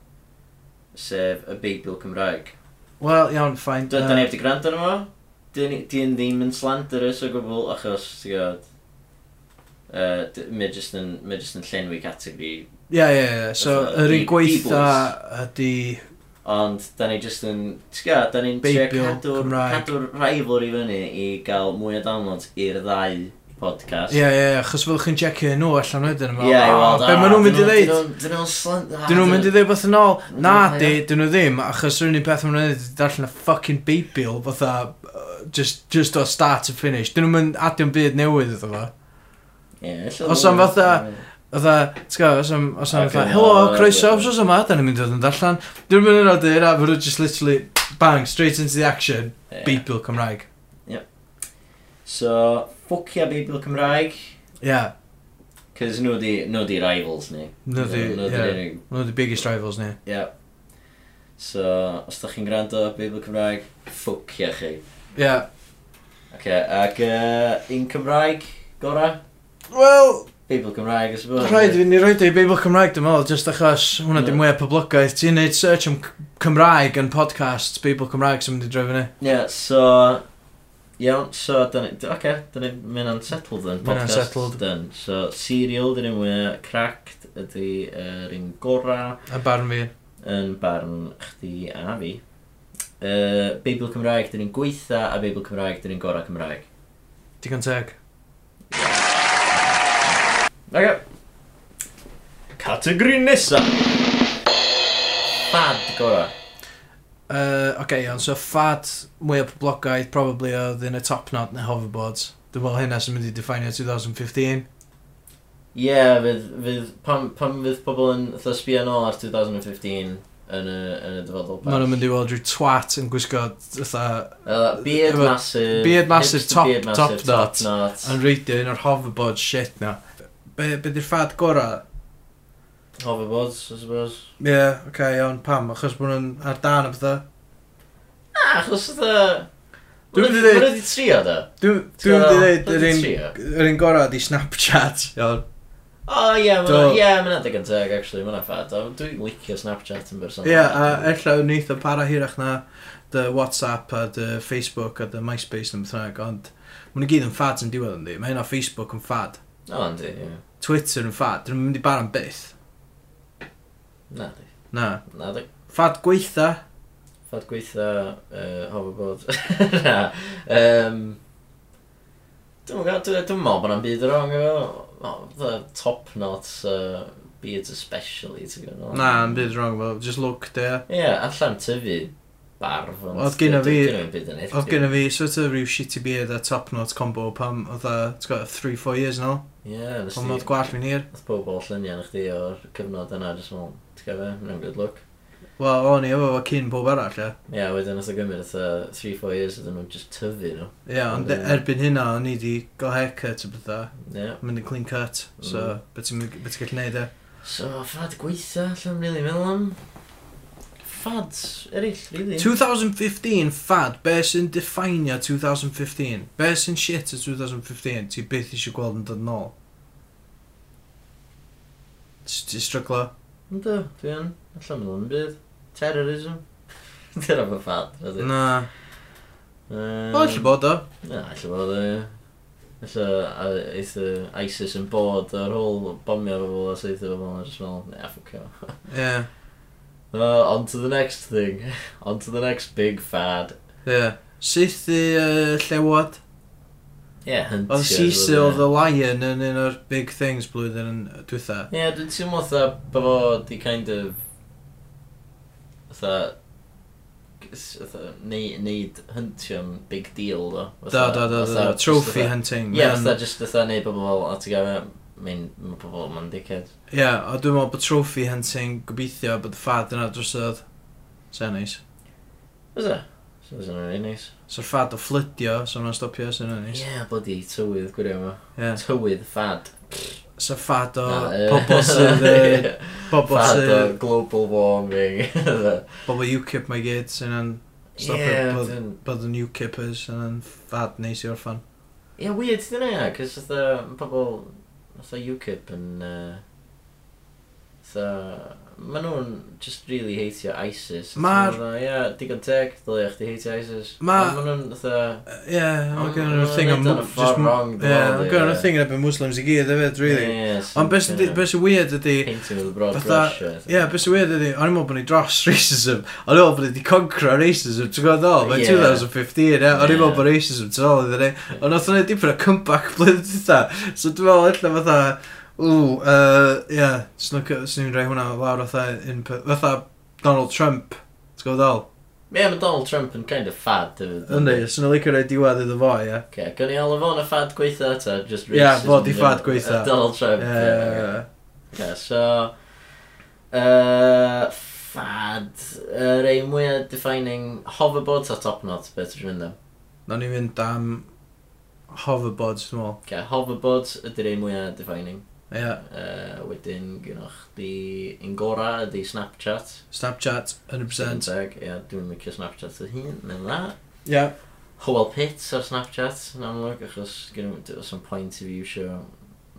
S4: Sef y Beibl Cymraeg.
S3: Wel, iawn, ffain.
S4: Da ni wedi gwrando arno fo. Di'n ddim yn slanderous o gwbl achos, ti'n gwybod, uh, mae jyst yn mae jyst yn llenwi categori
S3: Ie, ie, ie. So,
S4: Fatha e-
S3: yr un
S4: Be-
S3: gweitha ydi...
S4: Ond, da ni jyst yn... Tga, da ni'n trio
S3: Beibl
S4: cadw'r
S3: Cymraeg.
S4: cadw'r rivalry fyny i gael mwy o downloads i'r ddau podcast.
S3: Ie, ie, ie, achos fel chi'n checio nhw allan wedyn.
S4: Ie, i weld,
S3: Be
S4: "Ah,
S3: maen nhw'n mynd i
S4: dyn
S3: ddeud?
S4: nhw- Dyn nhw'n slant... ah,
S3: Dyn nhw'n mynd i
S4: dyn-
S3: ddeud beth yn ôl?
S4: Dyn nhw'n
S3: Na,
S4: hynna.
S3: di, dyn nhw ddim, achos yr unig peth maen nhw'n edrych darllen y fucking Beibl, fatha, uh, just, just o start to finish. Dyn nhw'n mynd adio'n byd newydd iddo fo.
S4: Ie, ella
S3: Os
S4: dyn
S3: am
S4: nhw-
S3: fatha- Fatha, ti'n gael, os am, os am
S4: Ac
S3: fatha,
S4: yn
S3: helo,
S4: ôl,
S3: croeso,
S4: ie.
S3: os os yma, da ni'n mynd i fod yn darllen. Dyn nhw'n mynd yn oed i'r afr, just literally, bang, straight into the action,
S4: Ie.
S3: Beibl Cymraeg.
S4: So, ffwcia Beibl Cymraeg,
S3: Ie,
S4: cos nhw di, nhw di rivals ni.
S3: Nhw 'di-
S4: Nhw
S3: ie.
S4: di'r unig...
S3: nhw'n the biggest rivals ni.
S4: Ie. So, os da chi'n gwrando Beibl Cymraeg, ffwcia chi.
S3: Ie.
S4: Ac, ac uh, un Cymraeg, gora?
S3: Wel,
S4: Beibl Cymraeg, I suppose.
S3: Rhaid i ni roed ei Beibl Cymraeg, dwi'n meddwl, just achos hwnna di
S4: Ie.
S3: mwy o poblogaeth. Ti'n neud search am C- Cymraeg yn podcasts, Beibl Cymraeg sy'n mynd i drefyn ni.
S4: Ie, yeah, so... Iawn, so, dyn ni... d- Oce, dyn ni... Mae'n unsettled yn
S3: Mae'n
S4: podcast.
S3: unsettled.
S4: Dyn. So, serial, dyn ni mwy cracked ydy yr un gora
S3: A barn fi.
S4: yn barn chdi a fi. Uh, Beibl Cymraeg, dyn ni'n gweitha, a Beibl Cymraeg, dyn ni'n gora Cymraeg.
S3: Digon teg.
S4: Oce. Categori nesa. Fad gora.
S3: Uh, Oce, okay, iawn, so ffad mwy o poblogaeth, probably oedd yn y top knot neu hoverboards. Dwi'n meddwl hynna sy'n mynd i definio 2015.
S4: Ie, yeah, fydd, fydd, pam, pam fydd pobl yn fatha sbio yn ôl ar 2015 yn y, yn y dyfodol
S3: Maen nhw'n mynd i weld rhyw twat yn gwisgo fatha
S4: Uh, beard
S3: Efo-
S4: massive.
S3: beard massive,
S4: hipster
S3: top-
S4: beard
S3: top
S4: massive,
S3: knot.
S4: top knot.
S3: yn reidio un o'r hoverboard shit na. Be, be di'r ffad gorau?
S4: Hoverboards, I suppose.
S3: Ie, yeah, oce, okay, iawn, pam? Achos bod nhw'n ar dan o bethau.
S4: Ah, achos yda...
S3: Dwi'n
S4: Dwi'n
S3: mynd i ddeud-
S4: wedi dweud... Mae'n wedi trio, da.
S3: Dwi'n
S4: Ti'n
S3: dwi'n
S4: meddwl?
S3: mynd i ddeud yr
S4: Dwi'n
S3: un
S4: trio.
S3: Yr un gorau di Snapchat. Iawn.
S4: O, ie,
S3: Do.
S4: mae'n adeg yn teg, actually, mae'n ffad. O, Dwi'n licio Snapchat yn bersonol.
S3: Ie, a ella wneith o para hirach na dy WhatsApp a dy Facebook a dy MySpace yn bythynag, ond maen nhw gyd yn fads yn diwedd yndi. Mae hynna Facebook yn fad,
S4: O, yndi, ie.
S3: Twitter yn fad, dyn nhw'n mynd i bar am byth.
S4: Na, di.
S3: Na.
S4: Na, di.
S3: Fad gweitha,
S4: Ffad gweitha uh, hoverboard. Na. Um, Dwi'n gwybod, dwi'n dwi'n meddwl bod yna'n byd yr ong efo. The top knots, uh, beards especially, ti'n gwybod?
S3: na, yn byd wrong fel, just look there.
S4: Ie, yeah, allan tyfu barf. ond
S3: Oedd gynna
S4: dy-
S3: fi-
S4: gynna fi'm byd yn eithrio.
S3: Oedd gen i fi sort of rhyw shitty beard a top knot combo pam oedd a, ti'n gwybod, 3-4 years yn ôl,
S4: Ie, nes
S3: pam oedd
S4: ti...
S3: gwall fi'n hir.
S4: Oedd pobl lluniau na chdi o'r cyfnod yna, jyst fel, ti'n gael fe, mae'n good look.
S3: Wel, o'n i efo fo cyn bob arall, ie.
S4: Ie, yeah, wedyn oedd o gymryd oedd 3-4 years ydyn nhw'n just tyfu nhw.
S3: Ie, ond
S4: Ie.
S3: erbyn hynna, o'n i wedi gael haircut o bethau.
S4: Ie. Yeah.
S3: Mynd yn clean cut, so
S4: Mm.
S3: beth ti'n beth ti'n gallu neud e?
S4: So, ffad gweitha, allan really meddwl am... Ffads eraill, really.
S3: 2015, fad, be sy'n definio 2015? Be sy'n shit o 2015? Ti byth eisiau gweld yn dod yn ôl? Ti- Ti'n stryglo?
S4: Ynddo, dwi yn. Allan meddwl am byd. Terrorism. Dyna fy ffad, rydw.
S3: Na.
S4: Um,
S3: O, lle bod o.
S4: Na, allan bod o, ie. Alla, eitha ISIS yn bod ar ôl bomio bobl a seitha bobl a just fel, yeah, fuck off.
S3: Ie,
S4: Uh, on to the next thing. on to the next big fad.
S3: ie. Syth i yy, llewod.
S4: Ie, hyntio.
S3: Oedd Cecil the Lion yn un o'r big things blwyddyn yn dwytha.
S4: Ie, yeah, dwi'n teimlo fatha bod fo di kind of... Fatha... Fatha... Neud, neud hyntio'n big deal, do.
S3: Da, da, da, da, trophy hunting.
S4: Ie,
S3: Mae o'n-
S4: fatha just fatha neud bobl a ti gael... Mae'n ma pobl ma'n dickhead.
S3: Ie, a dwi'n meddwl bod trophy hunting gobeithio bod y ffad yna drosodd. Sa'n neis.
S4: Fes e? So, sy'n rhaid neis.
S3: So'r ffad o flydio, so mae'n stopio, sa'n neis.
S4: Ie, bloody tywydd, gwirio yma.
S3: Ie.
S4: Tywydd ffad.
S3: So'r ffad o
S4: Na, yy.
S3: pobl sydd... yy, Pobl
S4: Ffad o
S3: sydd...
S4: global warming.
S3: Pobl UKIP mae gyd, sy'n yn... Stop
S4: Ie,
S3: it, bod-
S4: dwi'n-
S3: Bod yn UKIPers, sy'n yn ffad neis i orffan.
S4: Ie, weird dyn e, cos oedd y pobl, oedd y UKIP yn, uh, so, ma nhw'n just really heitio ISIS.
S3: Ma'r-
S4: Fatha, Ie, digon teg, dylai eich di heitio ISIS.
S3: Ma-
S4: Ond Ma nhw'n, oedd
S3: Ie,
S4: Mm,
S3: mae gen
S4: ma'
S3: nhw'r
S4: nhw'n
S3: thing
S4: neud o'n y ffordd wrong, dwi'n
S3: Ie,
S4: meddwl,
S3: mae gen
S4: ie.
S3: nhw'r thing yn ebyn Muslims i gyd, hefyd, really. Ond beth sy'n beth sy'n weird ydi...
S4: Painting with a broad
S3: Fatha-
S4: brush. Ie,
S3: Ie, yeah, beth sy'n weird ydi, o'n i'n meddwl bod ni dros racism, o'n i'n meddwl bod ni wedi concro racism, ti'n gwybod ddol, mae'n
S4: Ie.
S3: 2015, ie, o'n
S4: Ie.
S3: i'n meddwl bod racism ti'n ôl iddyn ni, ond oedd hwnna dipyn o comeback blwyddyn dda, so dwi'n meddwl allan fatha, ww, yy, ie, swn i'n rhoi hwnna lawr fatha, in- fatha Donald Trump, ti'n gwybod ddol?
S4: mae Donald Trump yn kind of fad.
S3: Yndi, swn i'n licio rhoi diwedd iddo fo, ie.
S4: Okay, gan i alw fo'n y fad gweitha ta, just
S3: Ie,
S4: racism.
S3: fo 'di
S4: yn-
S3: fad gwaetha.
S4: y Donald Trump. ie, ocê.
S3: Ie,
S4: Yeah, so... Uh, fad. Yr uh, ein mwyaf defining hoverboards a topknot, beth ydych chi'n mynd am.
S3: na ni'n mynd am hoverboards, dwi'n meddwl,
S4: Okay, hoverboards ydy'r ein mwyaf defining.
S3: ie,
S4: Uh, wedyn, gynnwch di ingora ydy Snapchat.
S3: Snapchat, 100%,
S4: Teg, Ie, dwi'n mycio Snapchat y hun, neu na.
S3: ie,
S4: Mm. Howell Pitts ar Snapchat, yn amlwg, achos gynnwch chi some point i fi iwsio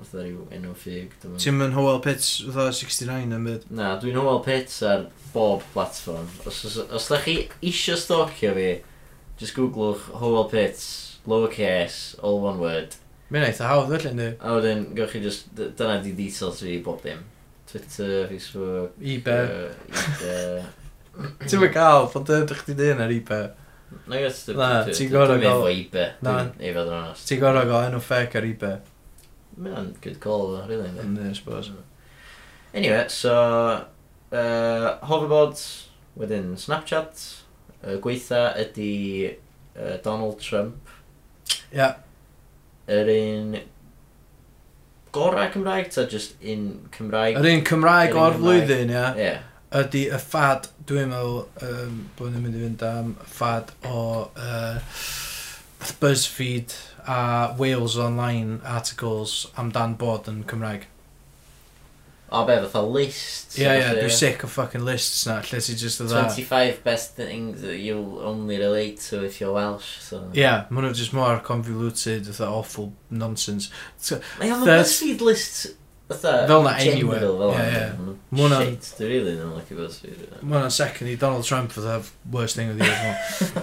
S4: fatha rhyw enw ffug. dwi'm yn-
S3: Ti'n mynd Howell Pitts fatha 69 yn byd.
S4: Na, dwi'n Howell Pitts ar bob platform. Os, os, os da chi isio stalcio fi, just googlwch Howell Pitts, lowercase, all one word.
S3: Mae'n eitha hawdd felly ynddi.
S4: A wedyn, gawch chi just, d- dyna di details fi i bob dim. Twitter, Facebook,
S3: eBay.
S4: Uh,
S3: Ti'n mynd gael, ond dyn ydych chdi dyn ar eBay.
S4: Na, gwrs, dwi-
S3: Na,
S4: dwi-
S3: ti'n
S4: dwi-
S3: gor'o'
S4: Dwi'n
S3: ga'l-
S4: efo eBay,
S3: Na.
S4: dwi'n ei fod yn onest.
S3: Ti'n gorau gael enw ffec ar eBay.
S4: Mae'n good call, though, really. yndi?
S3: Ynddi, I suppose.
S4: Anyway, so, uh, hoverboards, wedyn Snapchat, uh, gweitha ydy uh, Donald Trump,
S3: Ia.
S4: yr un gorau Cymraeg, ta just un Cymraeg?
S3: Yr un Cymraeg
S4: Yr un
S3: o'r
S4: Cymraeg.
S3: flwyddyn, ia,
S4: Ie.
S3: ydy y ffad, dwi'n meddwl, um, bod ni'n mynd i fynd am ffad o uh, BuzzFeed a Wales Online articles amdan bod yn Cymraeg.
S4: O be, fatha list?
S3: Ie, ie, dwi'n sick o fucking lists na, lle ti just o dda.
S4: 25 best things that you'll only relate to if you're Welsh, so...
S3: Ie, yeah, maen nhw just mor convoluted, fatha awful nonsense.
S4: Mae o'n
S3: That's-
S4: BuzzFeed list, fatha...
S3: Fel na,
S4: general,
S3: anyway.
S4: Fel
S3: Ie,
S4: na.
S3: ie.
S4: Mm.
S3: Ma' hwnna'n-
S4: Shit, dwi really ddim yn like BuzzFeed.
S3: Mae hwnna'n second i Donald Trump for the worst thing of the year.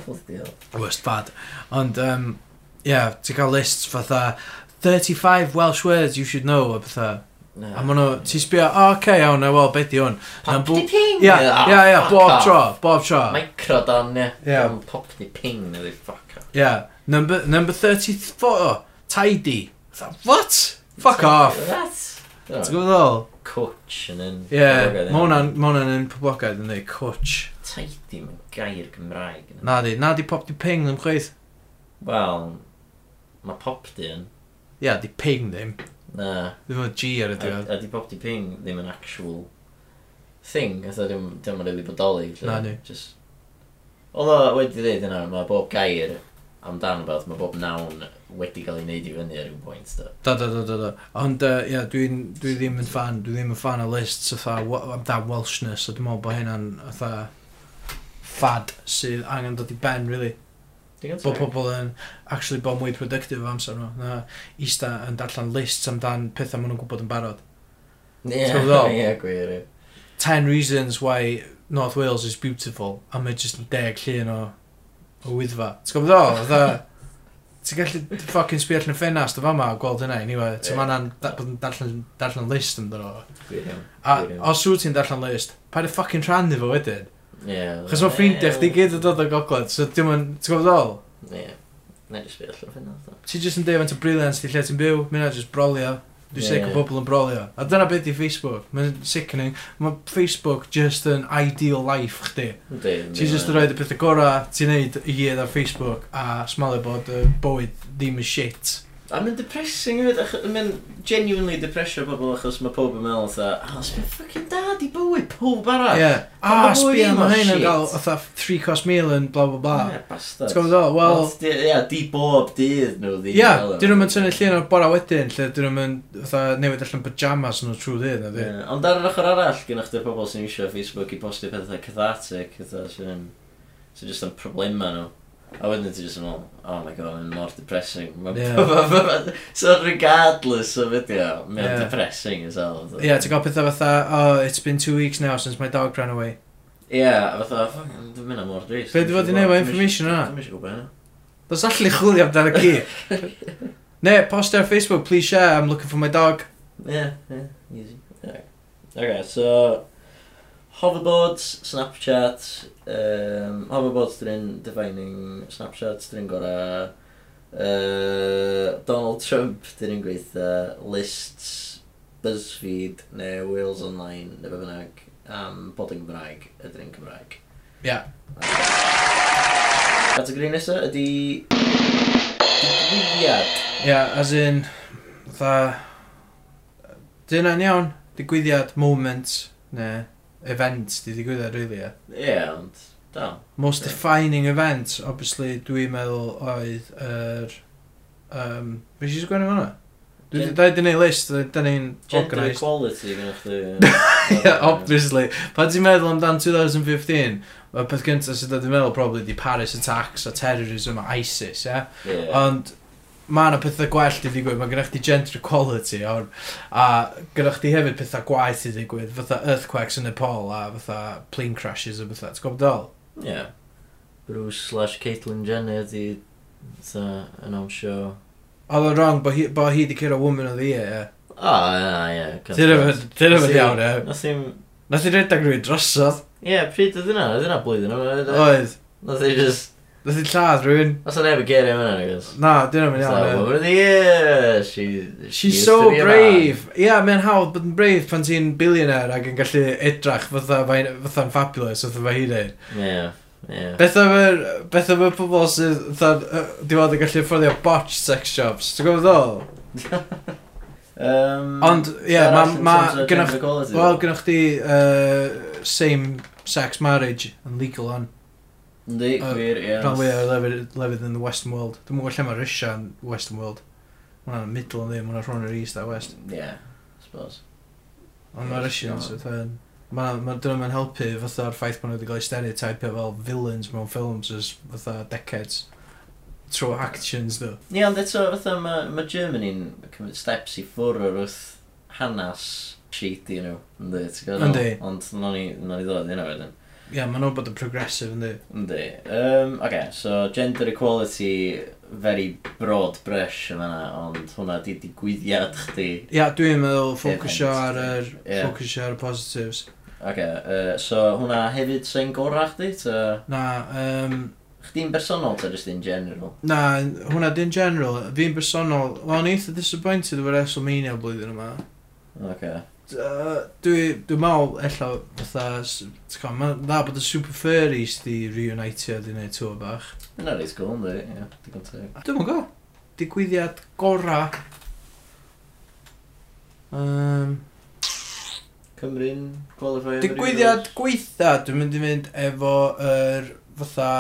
S4: Bloody hell.
S3: worst bad. Ond, um, yeah, ti'n cael lists fatha 35 Welsh words you should know a pethau.
S4: Na.
S3: A maen nhw, ti'n sbio, o, oh, okay, iawn, na, wel, beth di hwn? Na,
S4: Pop
S3: bo-
S4: di ping!
S3: Ie,
S4: Ah,
S3: ie, ie,
S4: fuck
S3: bob
S4: off.
S3: tro, bob tro.
S4: Microdon, ie.
S3: Ie.
S4: Yym, Pop di ping, neu di fuck off.
S3: Yeah, number, number 34, tidy. Fatha, What? Fuck off.
S4: That's...
S3: Ti'n gwybod ddol?
S4: Coach yn un...
S3: Ie, mae hwnna'n ma' hwnna'n un poblogaidd yn dweud, cwtch.
S4: Tidy mae'n gair Gymraeg. Na.
S3: Na di, na di pop di ping ddim chweith.
S4: Wel, mae pop di yn.
S3: Ie, yeah, di ping ddim.
S4: Na,
S3: Ddim o G ar y
S4: a
S3: diwedd.
S4: a di pop di ping ddim yn actual thing, fatha dim, dim yn rili bodoli. felly
S3: Na, ni.
S4: Just... Although, wedi dweud yna, mae bob gair amdan beth, mae bob nawn wedi cael ei wneud i fyny ar un pwynt. do.
S3: Da, da, da, da, da. Ond, yy, ie, dwi'n dwi ddim yn fan, dwi ddim yn fan o lists fatha wa- amdan Welshness, a dwi'n meddwl bod hynna'n fatha fad sydd angen dod i ben, really.
S4: Digon
S3: Bod
S4: teg.
S3: pobl yn actually bod mwy productive o amser nhw. Na, eista yn darllen lists amdan pethau maen nhw'n gwybod yn barod.
S4: Ie,
S3: Ti'n gwbod?
S4: ie, gwir. ie.
S3: 10 reasons why North Wales is beautiful, a mae jyst yn deg llun o, o wyddfa. Ti'n gwybod o? Dda, ti'n gallu ffocin sbio allan y ffenast o fama a gweld hynna, anyway. Ti'n
S4: Ie.
S3: ma'n darllen, darllen list amdano fo.
S4: Gwir iawn.
S3: A
S4: Gwir iawn.
S3: os wyt ti'n darllen list, paid y ffocin rhannu fo wedyn.
S4: Ie.
S3: Chos mae ffrindiau chdi gyd yn dod o gogledd, so dim yn, ti'n gwybod o?
S4: Ie. Na, jyst fi allan fyna. do.
S3: Ti'n jyst yn deud faint o briliant di lle ti'n byw, mynd jyst brolio. Dwi'n
S4: Ie.
S3: sic o bobl yn brolio. A dyna beth di Facebook. Mae'n sickening. Mae Facebook just yn ideal life chdi.
S4: Yndi, yndi,
S3: Ti'n just yn
S4: na.
S3: rhoi y pethau gorau ti'n neud i gyd ar Facebook a smalio bod y bywyd ddim yn shit.
S4: A mae'n depressing hefyd, ach- mae'n genuinely depressio pobl achos mae pob yn meddwl fatha, a os mae'n ffucking dad i bywyd pob arall.
S3: Ie. A
S4: Ah, Ma' bywyd
S3: sbio
S4: ddim yn
S3: mae hyn yn
S4: shit.
S3: gael fatha 3 cost meal yn bla bla bla.
S4: Ie, bastard.
S3: Ti'n gwybod o? Wel,
S4: Ond di- Ie, di bob dydd nhw ddi.
S3: ie, dyn nhw'n mynd tynnu llun o'r bora wedyn, lle dyn nhw'n mynd fatha newid allan pyjamas nhw trwy ddydd, na
S4: Ie,
S3: fi.
S4: Ond ar yr ochr arall, gynnwch chi'r pobl sy'n eisiau Facebook i postio pethau cathartic, pethau sy'n yn... sy'n just yn problema nhw. A wedyn ti just yn meddwl, oh my god, mae'n mor depressing. Ma-
S3: Ie.
S4: So regardless o fideo, mae'n
S3: Ie.
S4: depressing as hell.
S3: Ie, ti'n gael pethau fatha, oh, it's been two weeks now since my dog ran away.
S4: Ie, a fatha, "Fucking, dwi'n mynd am mor dris.
S3: Be' di fod i neud efo information yna?
S4: Dwi'n eisiau gwybod hynna.
S3: Dos allu chwilio amdano ci. Ne, post ar Facebook, please share, I'm looking for my dog.
S4: Ie, ie, easy. Ie. Ok, so, hoverboards, Snapchat, um, hoverboards dyn nhw'n defining Snapchat, dyn nhw'n gorau, uh, Donald Trump dyn nhw'n gweithio, lists, BuzzFeed, neu Wales Online, neu be bynnag, am bod yn Gymraeg, ydyn nhw'n Cymraeg.
S3: Ie. Yeah.
S4: Categori nesaf ydy... Digwyddiad.
S3: Ie, yeah, as in, fatha, dyna'n iawn, digwyddiad, moment, ne, event, di digwyddiad, really, ie.
S4: Ie, ond, dal.
S3: Most
S4: Ie.
S3: defining event, obviously, dwi'n meddwl oedd yr, um, beth sy'n gwenno fanna? Dwi
S4: Gen-
S3: wedi gwneud list, dyn ni'n
S4: Gender
S3: organised.
S4: equality uh, gynnwch chi.
S3: Ie, obviously. Pa ti'n meddwl amdan 2015, y peth gyntaf sydd wedi'n meddwl, probably, di Paris attacks a terrorism a ISIS, ie? Yeah?
S4: Yeah.
S3: Ond mae yna pethau gwell i ddigwydd, mae gennych chi gender equality or, a gennych chi hefyd pethau gwaith i ddigwydd, fatha earthquakes yn Nepal a fatha plane crashes a bethau, ti'n gwybod dol?
S4: Yeah. Bruce slash Caitlyn Jenner uh, di
S2: uh,
S4: ta announcio...
S3: Oedd o'n wrong bod hi, bo hi di cyrra woman o ddi e, ie.
S4: O, na, ie.
S3: Ti'n rhywbeth- ti'n rhywbeth iawn e.
S4: Nath i'm...
S3: Nath i redag rhywun drosodd,
S4: Ie, pryd oedd yna, oedd yna blwyddyn yma.
S3: oedd.
S4: Nath i just...
S3: Nath i lladd rhywun.
S4: Nath o'n efo'r gerio yma, I guess.
S3: Na, dyn nhw'n iawn e.
S4: Woman of the year! She, she
S3: She's
S4: used
S3: so
S4: to be a man.
S3: brave. Ie, yeah, mae'n hawdd bod yn brave pan ti'n billionaire ac yn gallu edrach fatha fain- fatha'n fabulous fatha fe hi dweud.
S4: Ie, ie.
S3: Beth am yr, beth am y pobol sydd, than, diwedd yn gallu fforddio botch sex shops, ti'n gwybod ddol?
S4: Um,
S3: Ond, ie,
S4: arall
S3: ma-
S4: in
S3: ma-
S4: terms of
S3: gynnwch-
S4: gender equality,
S3: Wel,
S4: though.
S3: gynnwch chi uh, same sex marriage yn legal on,
S4: Yndi,
S3: yy,
S4: gwir, ie.
S3: rhan fwyaf o lefydd, lefydd yn the western world. Dwi'n gwybod lle mae Russia yn western world. Mae hwnna'n middle yn ddim, mae hwnna'n rhan yr east a west.
S4: Ie, suppose.
S3: Ond mae Russians, fatha'n... Mae ma, dyna mae'n helpu fatha'r ffaith bod nhw wedi cael eu stereotypio fel villains mewn ffilms as fatha decades trwy actions ddo.
S4: Ie, ond eto, fatha, mae ma Germany'n cymryd steps i ffwrdd o'r wrth hanas shady nhw. Yndi, ti'n gwybod?
S3: Yndi.
S4: Ond no ni, no ni ddod i hynna wedyn.
S3: Ie, yeah, maen nhw'n bod yn progressive yn di.
S4: Yndi. Um, Oce, okay, so gender equality, very broad brush yma na, ond hwnna di digwyddiad chdi.
S3: Ia, yeah, dwi'n meddwl ffocysio ar yr...
S4: Event. Ie.
S3: Yeah. Ffocysio ar y positives.
S4: Oce, okay, uh, so hwnna hefyd sy'n gorau chdi, ta...
S3: Na, um,
S4: Chdi'n bersonol, ta just in general?
S3: na, hwnna dyn general. Fi'n bersonol, well, o'n eitha disappointed o'r WrestleMania blwyddyn yma.
S4: Oce. Okay.
S3: D- yy, Dwi, dwi'n meddwl, ella, fatha, s- ti'n gwbod, ma'n dda bod y Super Furries di reunitio di wneud tŵr bach.
S4: Yna reis cool, yndi, ie, digon teg.
S3: Dwi'n mwyn go. Digwyddiad gora. Um,
S4: Cymru'n qualifio
S3: Digwyddiad gweitha, dwi'n mynd i fynd efo yr fatha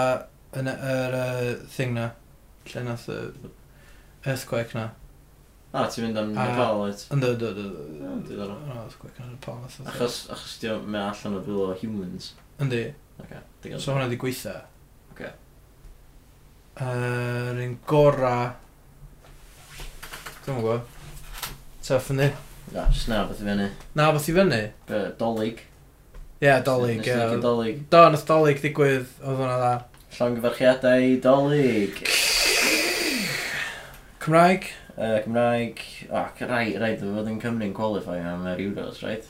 S3: yn y- yr uh, thing na, lle nath y earthquake na.
S4: A, ti'n mynd am
S3: A-
S4: Nepal, oed?
S3: Ynddo, ynddo, ynddo.
S4: O, diddorol.
S3: Ynddo, earthquake na Nepal nath o.
S4: Achos, achos ti'n mynd allan o filo humans.
S3: Yndi,
S4: Oce,
S3: so hwnna di gweitha.
S4: Ocê.
S3: Yr un gora... Dwi'n gwybod. Tough yn di.
S4: Na, jyst na, beth i fyny.
S3: Na, beth i fyny?
S4: Be, Dolig.
S3: Ie, dolyg.
S4: Nes i
S3: ie.
S4: Dolig.
S3: Do, nath dolyg digwydd, oedd hwnna dda.
S4: Llongyfarchiadau Dolig.
S3: Cymraeg?
S4: Uh, Cymraeg... O, oh, rai, rai, dy fod yn Cymru'n qualifio am yr Euros, right?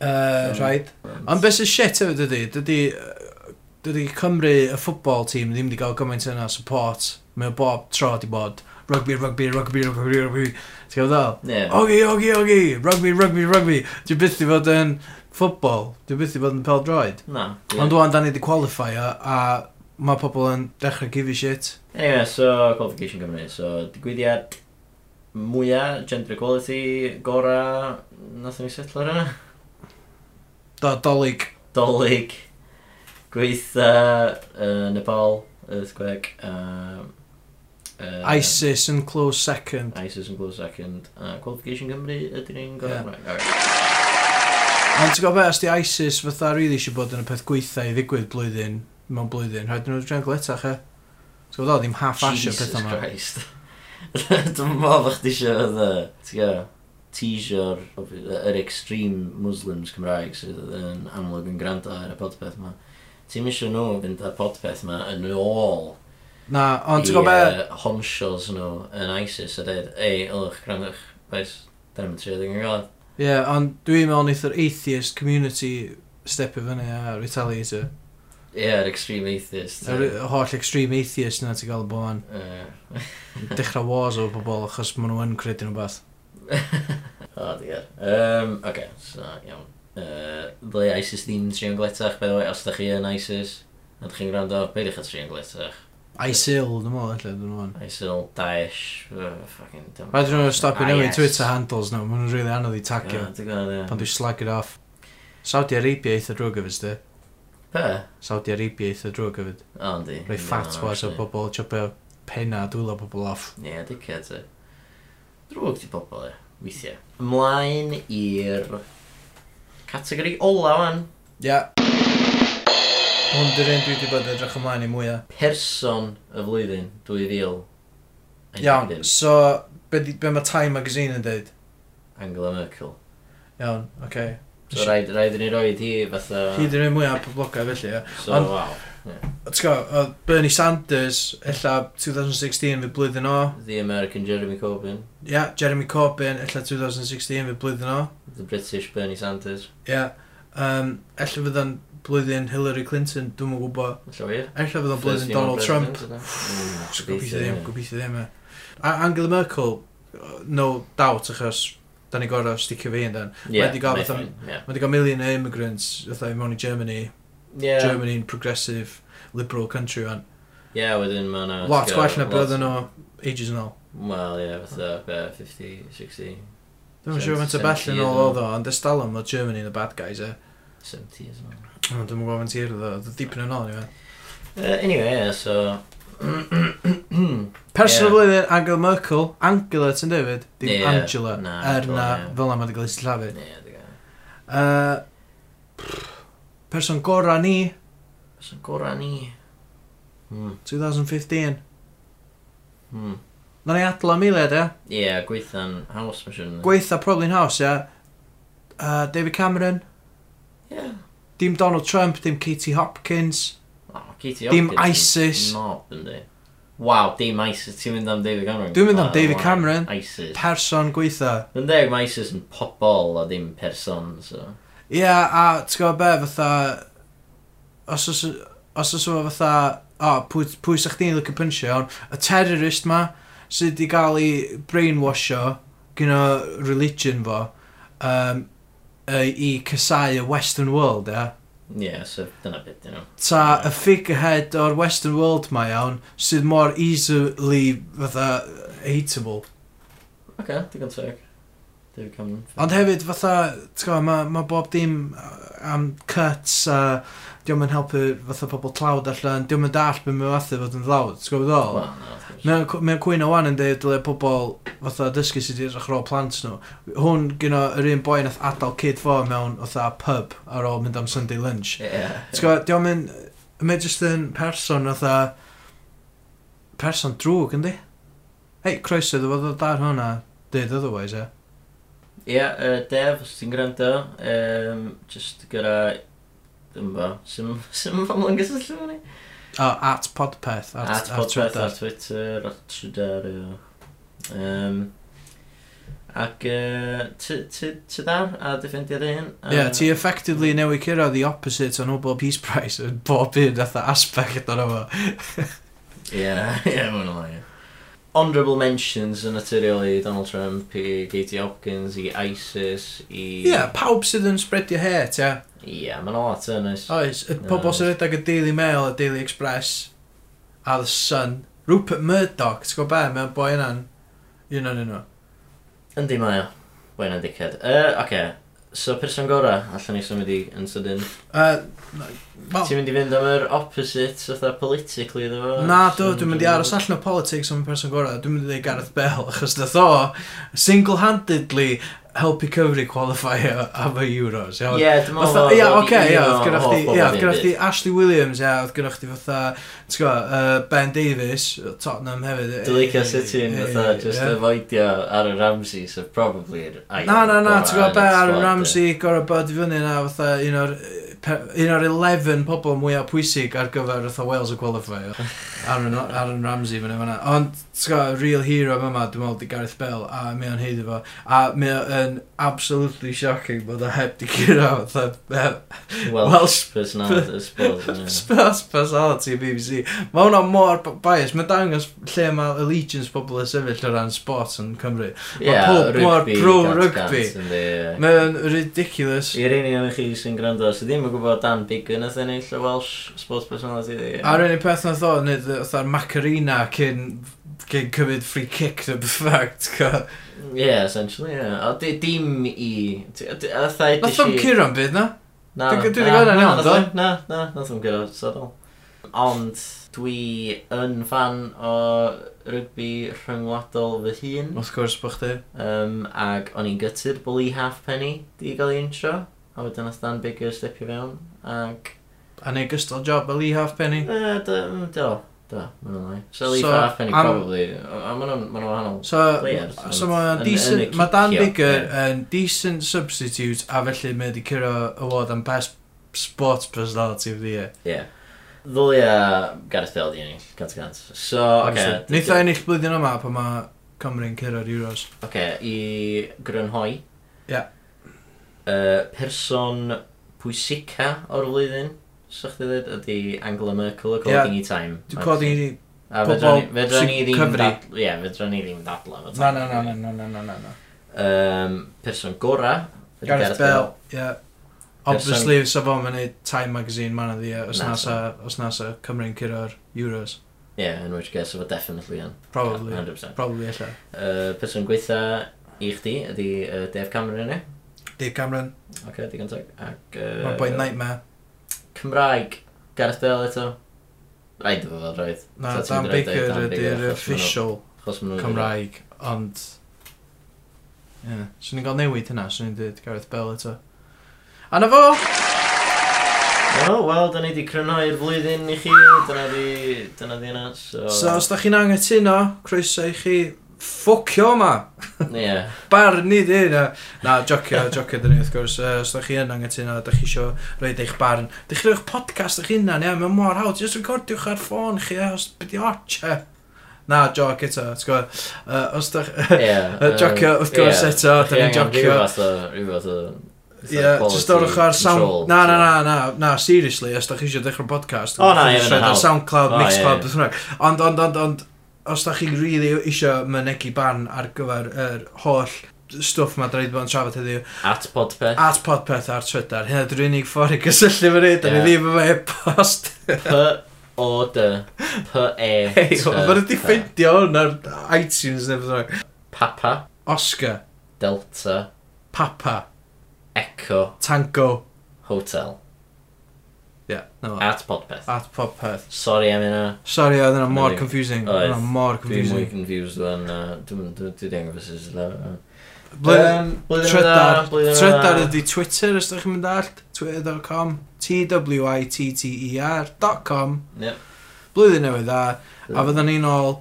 S3: Uh,
S4: Yym.
S3: rhaid. Ond beth sy'n shit hefyd ydy, dydy, yy, dydy Cymru, y ffwbol tîm, ddim wedi cael gymaint yna support. Mae o bob tro di bod rugby, rugby, rugby, rugby, rugby. Ti'n gwybod ddol?
S4: Ie.
S3: Ogi, ogi, ogi, rugby, rugby, rugby. Dwi'n byth i fod yn ffwbol, dwi'n byth i fod yn pel droed.
S4: Na. ie.
S3: Ond dwi'n dan i di qualify a, a mae pobl yn dechrau give a shit.
S4: Anyway, so qualification Cymru. So, digwyddiad mwyaf, gender equality, gora, nath ni setlo ar yna.
S3: Do, dolyg.
S4: Dolig, gweitha, uh, Nepal, earthquake, um, uh,
S3: ISIS yn close second.
S4: ISIS yn close second. Uh, qualification Cymru ydy
S3: Ie.
S4: ni'n gorau. Yeah. Right.
S3: Ond ti'n gwybod beth, os di ISIS fatha rili eisiau bod yn y peth gweitha i ddigwydd blwyddyn, mewn blwyddyn, rhaid nhw'n rhan gletach e. Ti'n gwybod o, ddim half asio
S4: Jesus
S3: peth yma.
S4: Christ. Dwi'n meddwl bod chdi eisiau fydda, ti'n gael, teasio'r yr extreme Muslims Cymraeg sydd yn amlwg yn gwrando ar y podpeth yma. Ti'n misio nhw fynd â podpeth yma yn ôl
S3: Na, ond ti'n
S4: i
S3: gwybod beth,
S4: yy, honshos nhw yn ISIS a dweud, ei, ylwch, grandwch, bais, dyna mynd trio ddyn gael.
S3: ie, ond dwi'n meddwl neith yr atheist community step i fyny a retaliator.
S4: Ie, yr extreme atheist.
S3: Yr y holl extreme atheist yna ti'n gael y boan.
S4: Yy.
S3: Dechrau wars o pobol achos maen nhw yn credu'n rhywbeth.
S4: O, digar. Um, Oce, okay, so, iawn. Uh, Ble ISIS ddim trion gletach, by the way, os da chi yn ISIS, a da chi'n gwrando, beidiwch at trion gletach.
S3: ISIL, dwi'n meddwl, efallai, dwi'n meddwl.
S4: ISIL, Daesh, uh, fucking... dim-
S3: Rhaid nhw'n stopio newid
S4: IS.
S3: Twitter handles nhw, maen nhw'n rili anodd i tagio.
S4: Ie, digon, ie.
S3: Pan dwi'n slag it off. Saudi Arabia eitha drwg efo sti.
S4: Be?
S3: Saudi Arabia eitha drwg hefyd.
S4: O, yndi.
S3: Rhoi fatwas o bobl, chopio penna, dwylo bobl off.
S4: Ie, dickhead, e. Drwg di bobl, e. Weithiau. Ymlaen i'r categori ola, wan.
S3: Ia. Yeah. Hwn dy'r un dwi wedi bod yn edrych ymlaen i mwyaf.
S4: Person y flwyddyn, 2000.
S3: Iawn, so, be, di- be mae Time Magazine yn deud?
S4: Angela Merkel.
S3: Iawn, oce.
S4: So rhaid, rhaid i ni roed hi fatha...
S3: Hi dy'r un mwyaf poblogaidd felly, ie.
S4: So,
S3: Ond-
S4: waw.
S3: Ti'n gwybod, oedd Bernie Sanders, ella 2016 fe blwyddyn o.
S4: The American Jeremy Corbyn.
S3: Ia, yeah, Jeremy Corbyn, ella 2016 fe blwyddyn o.
S4: The British Bernie Sanders.
S3: Ia. Yeah. Um, ella fydda'n blwyddyn Hillary Clinton, dwi'n mwyn gwybod.
S4: Alla wir.
S3: Ella fydda'n blwyddyn Donald Trump. Mm,
S4: Mm,
S3: Gobeithio ddim, gobeithio ddim e. A Angela Merkel, no doubt, achos da ni gorau sticio fi yn dan.
S4: Ie,
S3: wedi gael fatha-
S4: wnaethon, ie.
S3: Mae wedi cael million o immigrants, fatha i mewn i Germany.
S4: Ie,
S3: Yeah. Germany'n progressive, liberal country o'n.
S4: ie, wedyn mae yna...
S3: Lot gwell na
S4: lot-
S3: bydd nhw ages yn ôl.
S4: Wel, ie, fatha, be, 50, 60,
S3: Dwi'n
S4: Sen-
S3: siŵr faint o
S4: sen
S3: bell yn
S4: tir
S3: ôl
S4: yn-
S3: oedd o, ond estal am o Germany yn y bad guys e.
S4: 70 as well.
S3: Ond Dwi'n gwybod faint i'r oedd o, oedd o dipyn yn ôl ni fe.
S4: Uh, anyway, ie, so...
S3: Person
S4: Ie.
S3: y flwyddyn, Angela Merkel, Angela ti'n David, dim
S4: Ie.
S3: Angela,
S4: Na,
S3: er
S4: dwi'n
S3: na,
S4: gwbo, ie.
S3: fel na mae wedi cael ei sillafu.
S4: Ie, di gael.
S3: Yy, Person gorau ni,
S4: Os yn gorau ni... Hmm,
S3: 2015.
S4: hmm.
S3: Na ni adla miliad, ia.
S4: Ie, gweitha'n house machine.
S3: Gweitha probably'n haws, ia. Uh, David Cameron.
S4: Ie.
S3: Dim Donald Trump, dim Katie Hopkins.
S4: Oh, Katie
S3: Dim
S4: Hopkins yn
S3: ISIS.
S4: Knob, yndi. Waw, dim ISIS. Ti'n mynd am David Cameron.
S3: Dwi'n mynd am
S4: Ah,
S3: David
S4: waw,
S3: Cameron.
S4: ISIS.
S3: Person gweitha.
S4: Yn deg, mae ISIS yn pobol a ddim person, so...
S3: Ia, yeah, a ti'n gwybod be, fatha... Os oes... Os oes yma fatha... O, pwy, pwy sa'ch di'n lyco pynsio, iawn. Y terrorist ma, sydd wedi cael ei brainwasho gyda religion fo, um, yy, i casau y Western world, ia.
S4: Ie, yeah, so dyna beth dyn nhw.
S3: Ta y figurehead o'r Western world ma iawn sydd mor easily fatha hateable.
S4: Oce, okay, digon teg. David Cameron.
S3: Ond hefyd, fatha, ti'n gwybod, mae ma bob dim uh, am cuts a diwm yn helpu fatha pobl tlawd allan, diwm yn dall beth mae'n fathu fod yn ddlawd, ti'n gwybod ddol?
S4: Wel, na, wrth gwrs.
S3: Mae'n mae cwyno wan yn dweud dyle pobl fatha dysgu sydd wedi rachro plant nhw. Hwn gyno yr un boi nath adael kid fo mewn fatha pub ar ôl mynd am Sunday lunch.
S4: Ie.
S3: Ti'n gwybod, diolch yn... Mae jyst yn person fatha... Person drwg, yndi? Hei, croeso, dwi fod o dar hwnna. Dyd otherwise, e.
S4: Ie, yy, Dev, os ti'n gwrando, yym, jyst gyda... Dwi'n bo, sy'n pobl yn gysylltu fo ni?
S3: O, at podpeth. At,
S4: At Podpeth, ar Twitter, ar Trydar, ie. Yym, Ac yy, ti ti- ti dar a defnyddio dy hyn?
S3: Ie, yeah, ti effectively newid cyrra the opposite o Nobel Peace Prize yn bob un fatha aspect o'n efo.
S4: Ie, ie, mae'n lai. Honourable mentions yn naturiol i Donald Trump, i Katie Hopkins, i ISIS, i...
S3: Ie, yeah, pawb sydd yn spreadio het, ie.
S4: Ie, mae'n lot yn oes.
S3: Oes, y pobol sy'n rhedeg y Daily Mail, y Daily Express, a The Sun. Rupert Murdoch, ti'n gwybod be, mae'n boi yna'n... Un o'n un o.
S4: Yndi mae o. Wain yn dickhead. Uh, Oce, so person gorau, allan ni symud i yn sydyn.
S3: Yy, wel,
S4: Ti'n mynd i fynd am yr opposite, fatha politically iddo fo?
S3: Na, do, dwi'n mynd i aros allan o politics am y person gorau. Dwi'n mynd i ddweud Gareth Bell, achos ddoth o single-handedly helpu Cymru qualifier am y Euros.
S4: Ie,
S3: Iawn?
S4: dwi'n
S3: Fatha,
S4: meddwl...
S3: ia, oce, ia, oedd gyda chdi, ia, oedd gyda chdi Ashley Williams, ia, oedd gyda chdi fatha, ti'n gwybod, uh, Ben Davies, Tottenham hefyd.
S4: Dwi'n licio sut ti'n
S3: Ei,
S4: fatha, just
S3: ie.
S4: avoidio Aaron Ramsey, so probably...
S3: Na, na, na, ti'n gwybod be,
S4: uh,
S3: Aaron Ramsey gorau bod i fyny na, fatha, un o'r, yy, pe- un o'r 11 pobl mwyaf pwysig ar gyfer fatha Wales y qualifier. Aaron, Aaron Ramsey fyny fyna. Ond, ti'n gwybod, real hero fe yma, dwi'n meddwl, di Gareth Bell, a mi o'n heiddi fo. A mi o'n absolutely shocking bod o heb di cyrra, fatha, yy, Welsh
S4: Welsh personality, I suppose.
S3: Spurs personality BBC. Mae hwnna mor b- bias. Mae dangos lle mae allegiance pobl yn sefyll o ran sports yn Cymru.
S4: Ie,
S3: pob mor
S4: rugby,
S3: pro
S4: gant
S3: rugby.
S4: gant, yndi, ie.
S3: Mae'n ridiculous.
S4: I'r un i am i chi sy'n gwrando, sydd ddim yn gwybod Dan Bigan nath ennill y Welsh Sports Personality of the Year.
S3: A'r unig peth na ddo, nid o'r Macarena cyn, cyn cymryd free kick to the fact.
S4: Ie, essentially, ie. O, di- dim i... ti- di- a Fatha i...
S3: Nath o'n cyrra'n byd na?
S4: Na,
S3: Dwi-
S4: na,
S3: dwi 'di gweld hynna
S4: na,
S3: iawn,
S4: nath o- Na, na, nath o'n gyda sadol. Ond dwi yn fan o rygbi rhyngwladol fy hun.
S3: Wrth gwrs bod chdi.
S4: Um, ag o'n i'n gytu'r bwli Halfpenny di gael ei intro. A wedyn nath Dan Bigger stepio fewn. Ac...
S3: A neu gystal job a Lee Halfpenny.
S4: E, do, do, do, mae'n lai. So, Lee
S3: So,
S4: Halfpenny,
S3: am-
S4: probably. A ma'n ma'n wahanol.
S3: So,
S4: Players,
S3: so
S4: ond
S3: mae
S4: yn-
S3: o'n
S4: yn
S3: decent,
S4: y
S3: mae Dan
S4: cicio,
S3: Bigger
S4: ie.
S3: yn decent substitute a felly mae wedi cyrra award am best sports personality of the year.
S4: Ie. Ddylia Gareth Bale di ennill, gant y gant. So, oce.
S3: Absolute. Neith o ennill blwyddyn yma pan mae Cymru'n cyrra'r Euros.
S4: Oce, i grynhoi.
S3: Ie.
S4: Yy, person pwysica o'r flwyddyn, sa'ch chi ddweud, ydi Angela Merkel, according i Time.
S3: Dwi'n codi i ni...
S4: A
S3: pobol
S4: fedra ni- fedra ni
S3: sy'n
S4: ddim
S3: cyfri.
S4: dadla... Ie, fedra ni ddim dadla. fo
S3: Na,
S4: Time,
S3: na, na, na,
S4: really.
S3: na, na, na, na, na.
S4: Yym, Person gora. ydi
S3: Gareth Bale, ie. Obviously,
S4: Person-
S3: sa fo mae'n neud Time Magazine man of the year, uh, os
S4: Na,
S3: nasa, os nasa Cymru'n cyrra'r Euros.
S4: Ie, in which case, efo definitely yn.
S3: Probably.
S4: 100%.
S3: Probably, ella.
S4: Yy, Person gweitha i chdi ydi yy, Dave Cameron yna.
S3: Dave Cameron,
S4: Oce, digon teg. Ac...
S3: uh,
S4: Yy,
S3: mae'n boi nightmare.
S4: Cymraeg, Gareth Bale eto. Rhaid efo fel rhaid.
S3: Na,
S4: Ta ti'n
S3: Dan
S4: mynd i roid
S3: Baker
S4: Dan Baker
S3: ydy'r
S4: achos ma' Mm. nhw-
S3: official
S4: Achos maen nhw'n...
S3: Cymraeg, ond... Ie, yeah. swn i'n cael newid hynna, swn i'n dweud Gareth Bale eto. A na fo!
S4: O, wel, da ni di crynhoi'r flwyddyn i chi. Dyna di... Dyna di yna. So...
S3: So, os da chi'n angytuno, croeso i chi ffocio yma!
S4: Ie.
S3: Barni di na. Na, jocio, jocio dyn ni wrth gwrs. Yy, Os da chi yn angytuno, da chi isio roed eich barn. Da chi roi'ch podcast eich hunan, ia, mae'n mor hawdd. Just recordiwch ar ffôn chi, ia, os byddi otche. Na, joc eto, ti'n gwybod. Uh, os da chi...
S4: Ie.
S3: Yy, jocio, wrth gwrs eto, da ni'n jocio.
S4: Rhyw fath o... Rhyw fath o... fatha
S3: Ie, just orwch ar
S4: quality
S3: sound...
S4: control,
S3: Na, na,
S4: so-
S3: na, na, na, seriously, os da chi eisiau dechrau podcast.
S4: O, na,
S3: chi
S4: ie,
S3: jyst
S4: mae'n
S3: roid ar
S4: help.
S3: Soundcloud,
S4: O, ie, ie.
S3: Mixcloud, beth bynnag. Ond, ond, ond, ond, os da chi'n really eisiau mynegu barn ar gyfer yr holl stwff ma draed bod yn trafod heddiw,
S4: At podpeth.
S3: At podpeth ar Twitter. Hynna dwi'n unig ffordd i gysylltu fy ni. Da ni
S4: Ie.
S3: ddim yma e-post.
S4: P... O, D. P, E,
S3: Hei,
S4: T,
S3: mae'n wedi
S4: P.
S3: ffeindio hwn ar iTunes neu beth bynnag.
S4: Papa.
S3: Oscar.
S4: Delta,
S3: Papa,
S4: Echo,
S3: Tango.
S4: Hotel,
S3: Yeah, no. At,
S4: at Podpeth.
S3: at Pop Perth.
S4: Sorry am yna.
S3: Sorry, oedd yna mor
S4: Really?
S3: confusing.
S4: Oedd.
S3: Oedd yna mor
S4: Dwi'n mwy
S3: confusing.
S4: confused than... Uh, dwi'n dwi dangos ys yna.
S3: Blwyddyn-
S4: Yym, blwyddyn
S3: Trydar.
S4: yna, blwyddyn yna.
S3: Trydar ydi Twitter, os ydych chi'n mynd ar twitter.com t-w-i-t-t-e-r E dot com
S4: Yep.
S3: Blwyddyn newydd dda A fydda ni'n ôl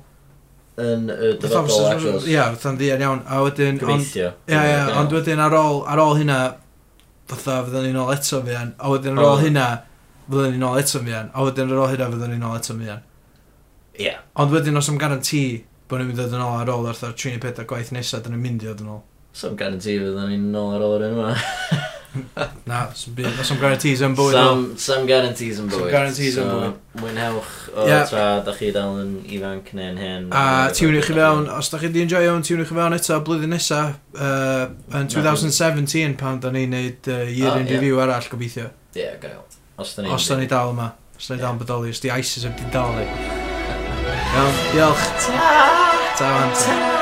S4: Yn y
S3: fatha
S4: dyfodol
S3: fysa-
S4: actuals.
S3: Ie, fatha'n ddian iawn A wedyn ond-
S4: Gobeithio.
S3: Ie, ie,
S4: Iawn.
S3: ond wedyn ar ôl Ar ôl hynna Fatha fydda ni'n ôl eto fi an A wedyn ar
S4: O.
S3: ôl hynna Fydda ni'n ôl eto fi an A wedyn ar ôl hynna fydda ni'n ôl eto fi an
S4: Ie.
S3: Ond wedyn os am garanti Bod ni'n mynd i ddod yn ôl ar ôl Arthur 34 gwaith nesaf Dyn ni'n mynd i ddod yn ôl
S4: So yn garanti fydden ni'n nôl ar ôl yr un yma.
S3: Na, s'm byd- os am guarantees yn bywyd nhw.
S4: Some, some guarantees yn
S3: Some
S4: bywyd.
S3: guarantees yn
S4: So,
S3: bywyd.
S4: Mwynhewch o
S3: Ie.
S4: tra da chi dal yn ifanc neu'n hen.
S3: A tiwnwch chi fewn, os da chi di enjoy o'n tiwnwch chi fewn eto blwyddyn nesa uh, yn 2017 pan da ni'n neud uh, year
S4: O,
S3: in
S4: ie.
S3: review arall gobeithio.
S4: Ie, gael. Os da ni...
S3: Os da ni dal yma, os da ni dal yn bodoli, os di ISIS heb di dal ni. Iawn, diolch. Ta! Ta! Ta!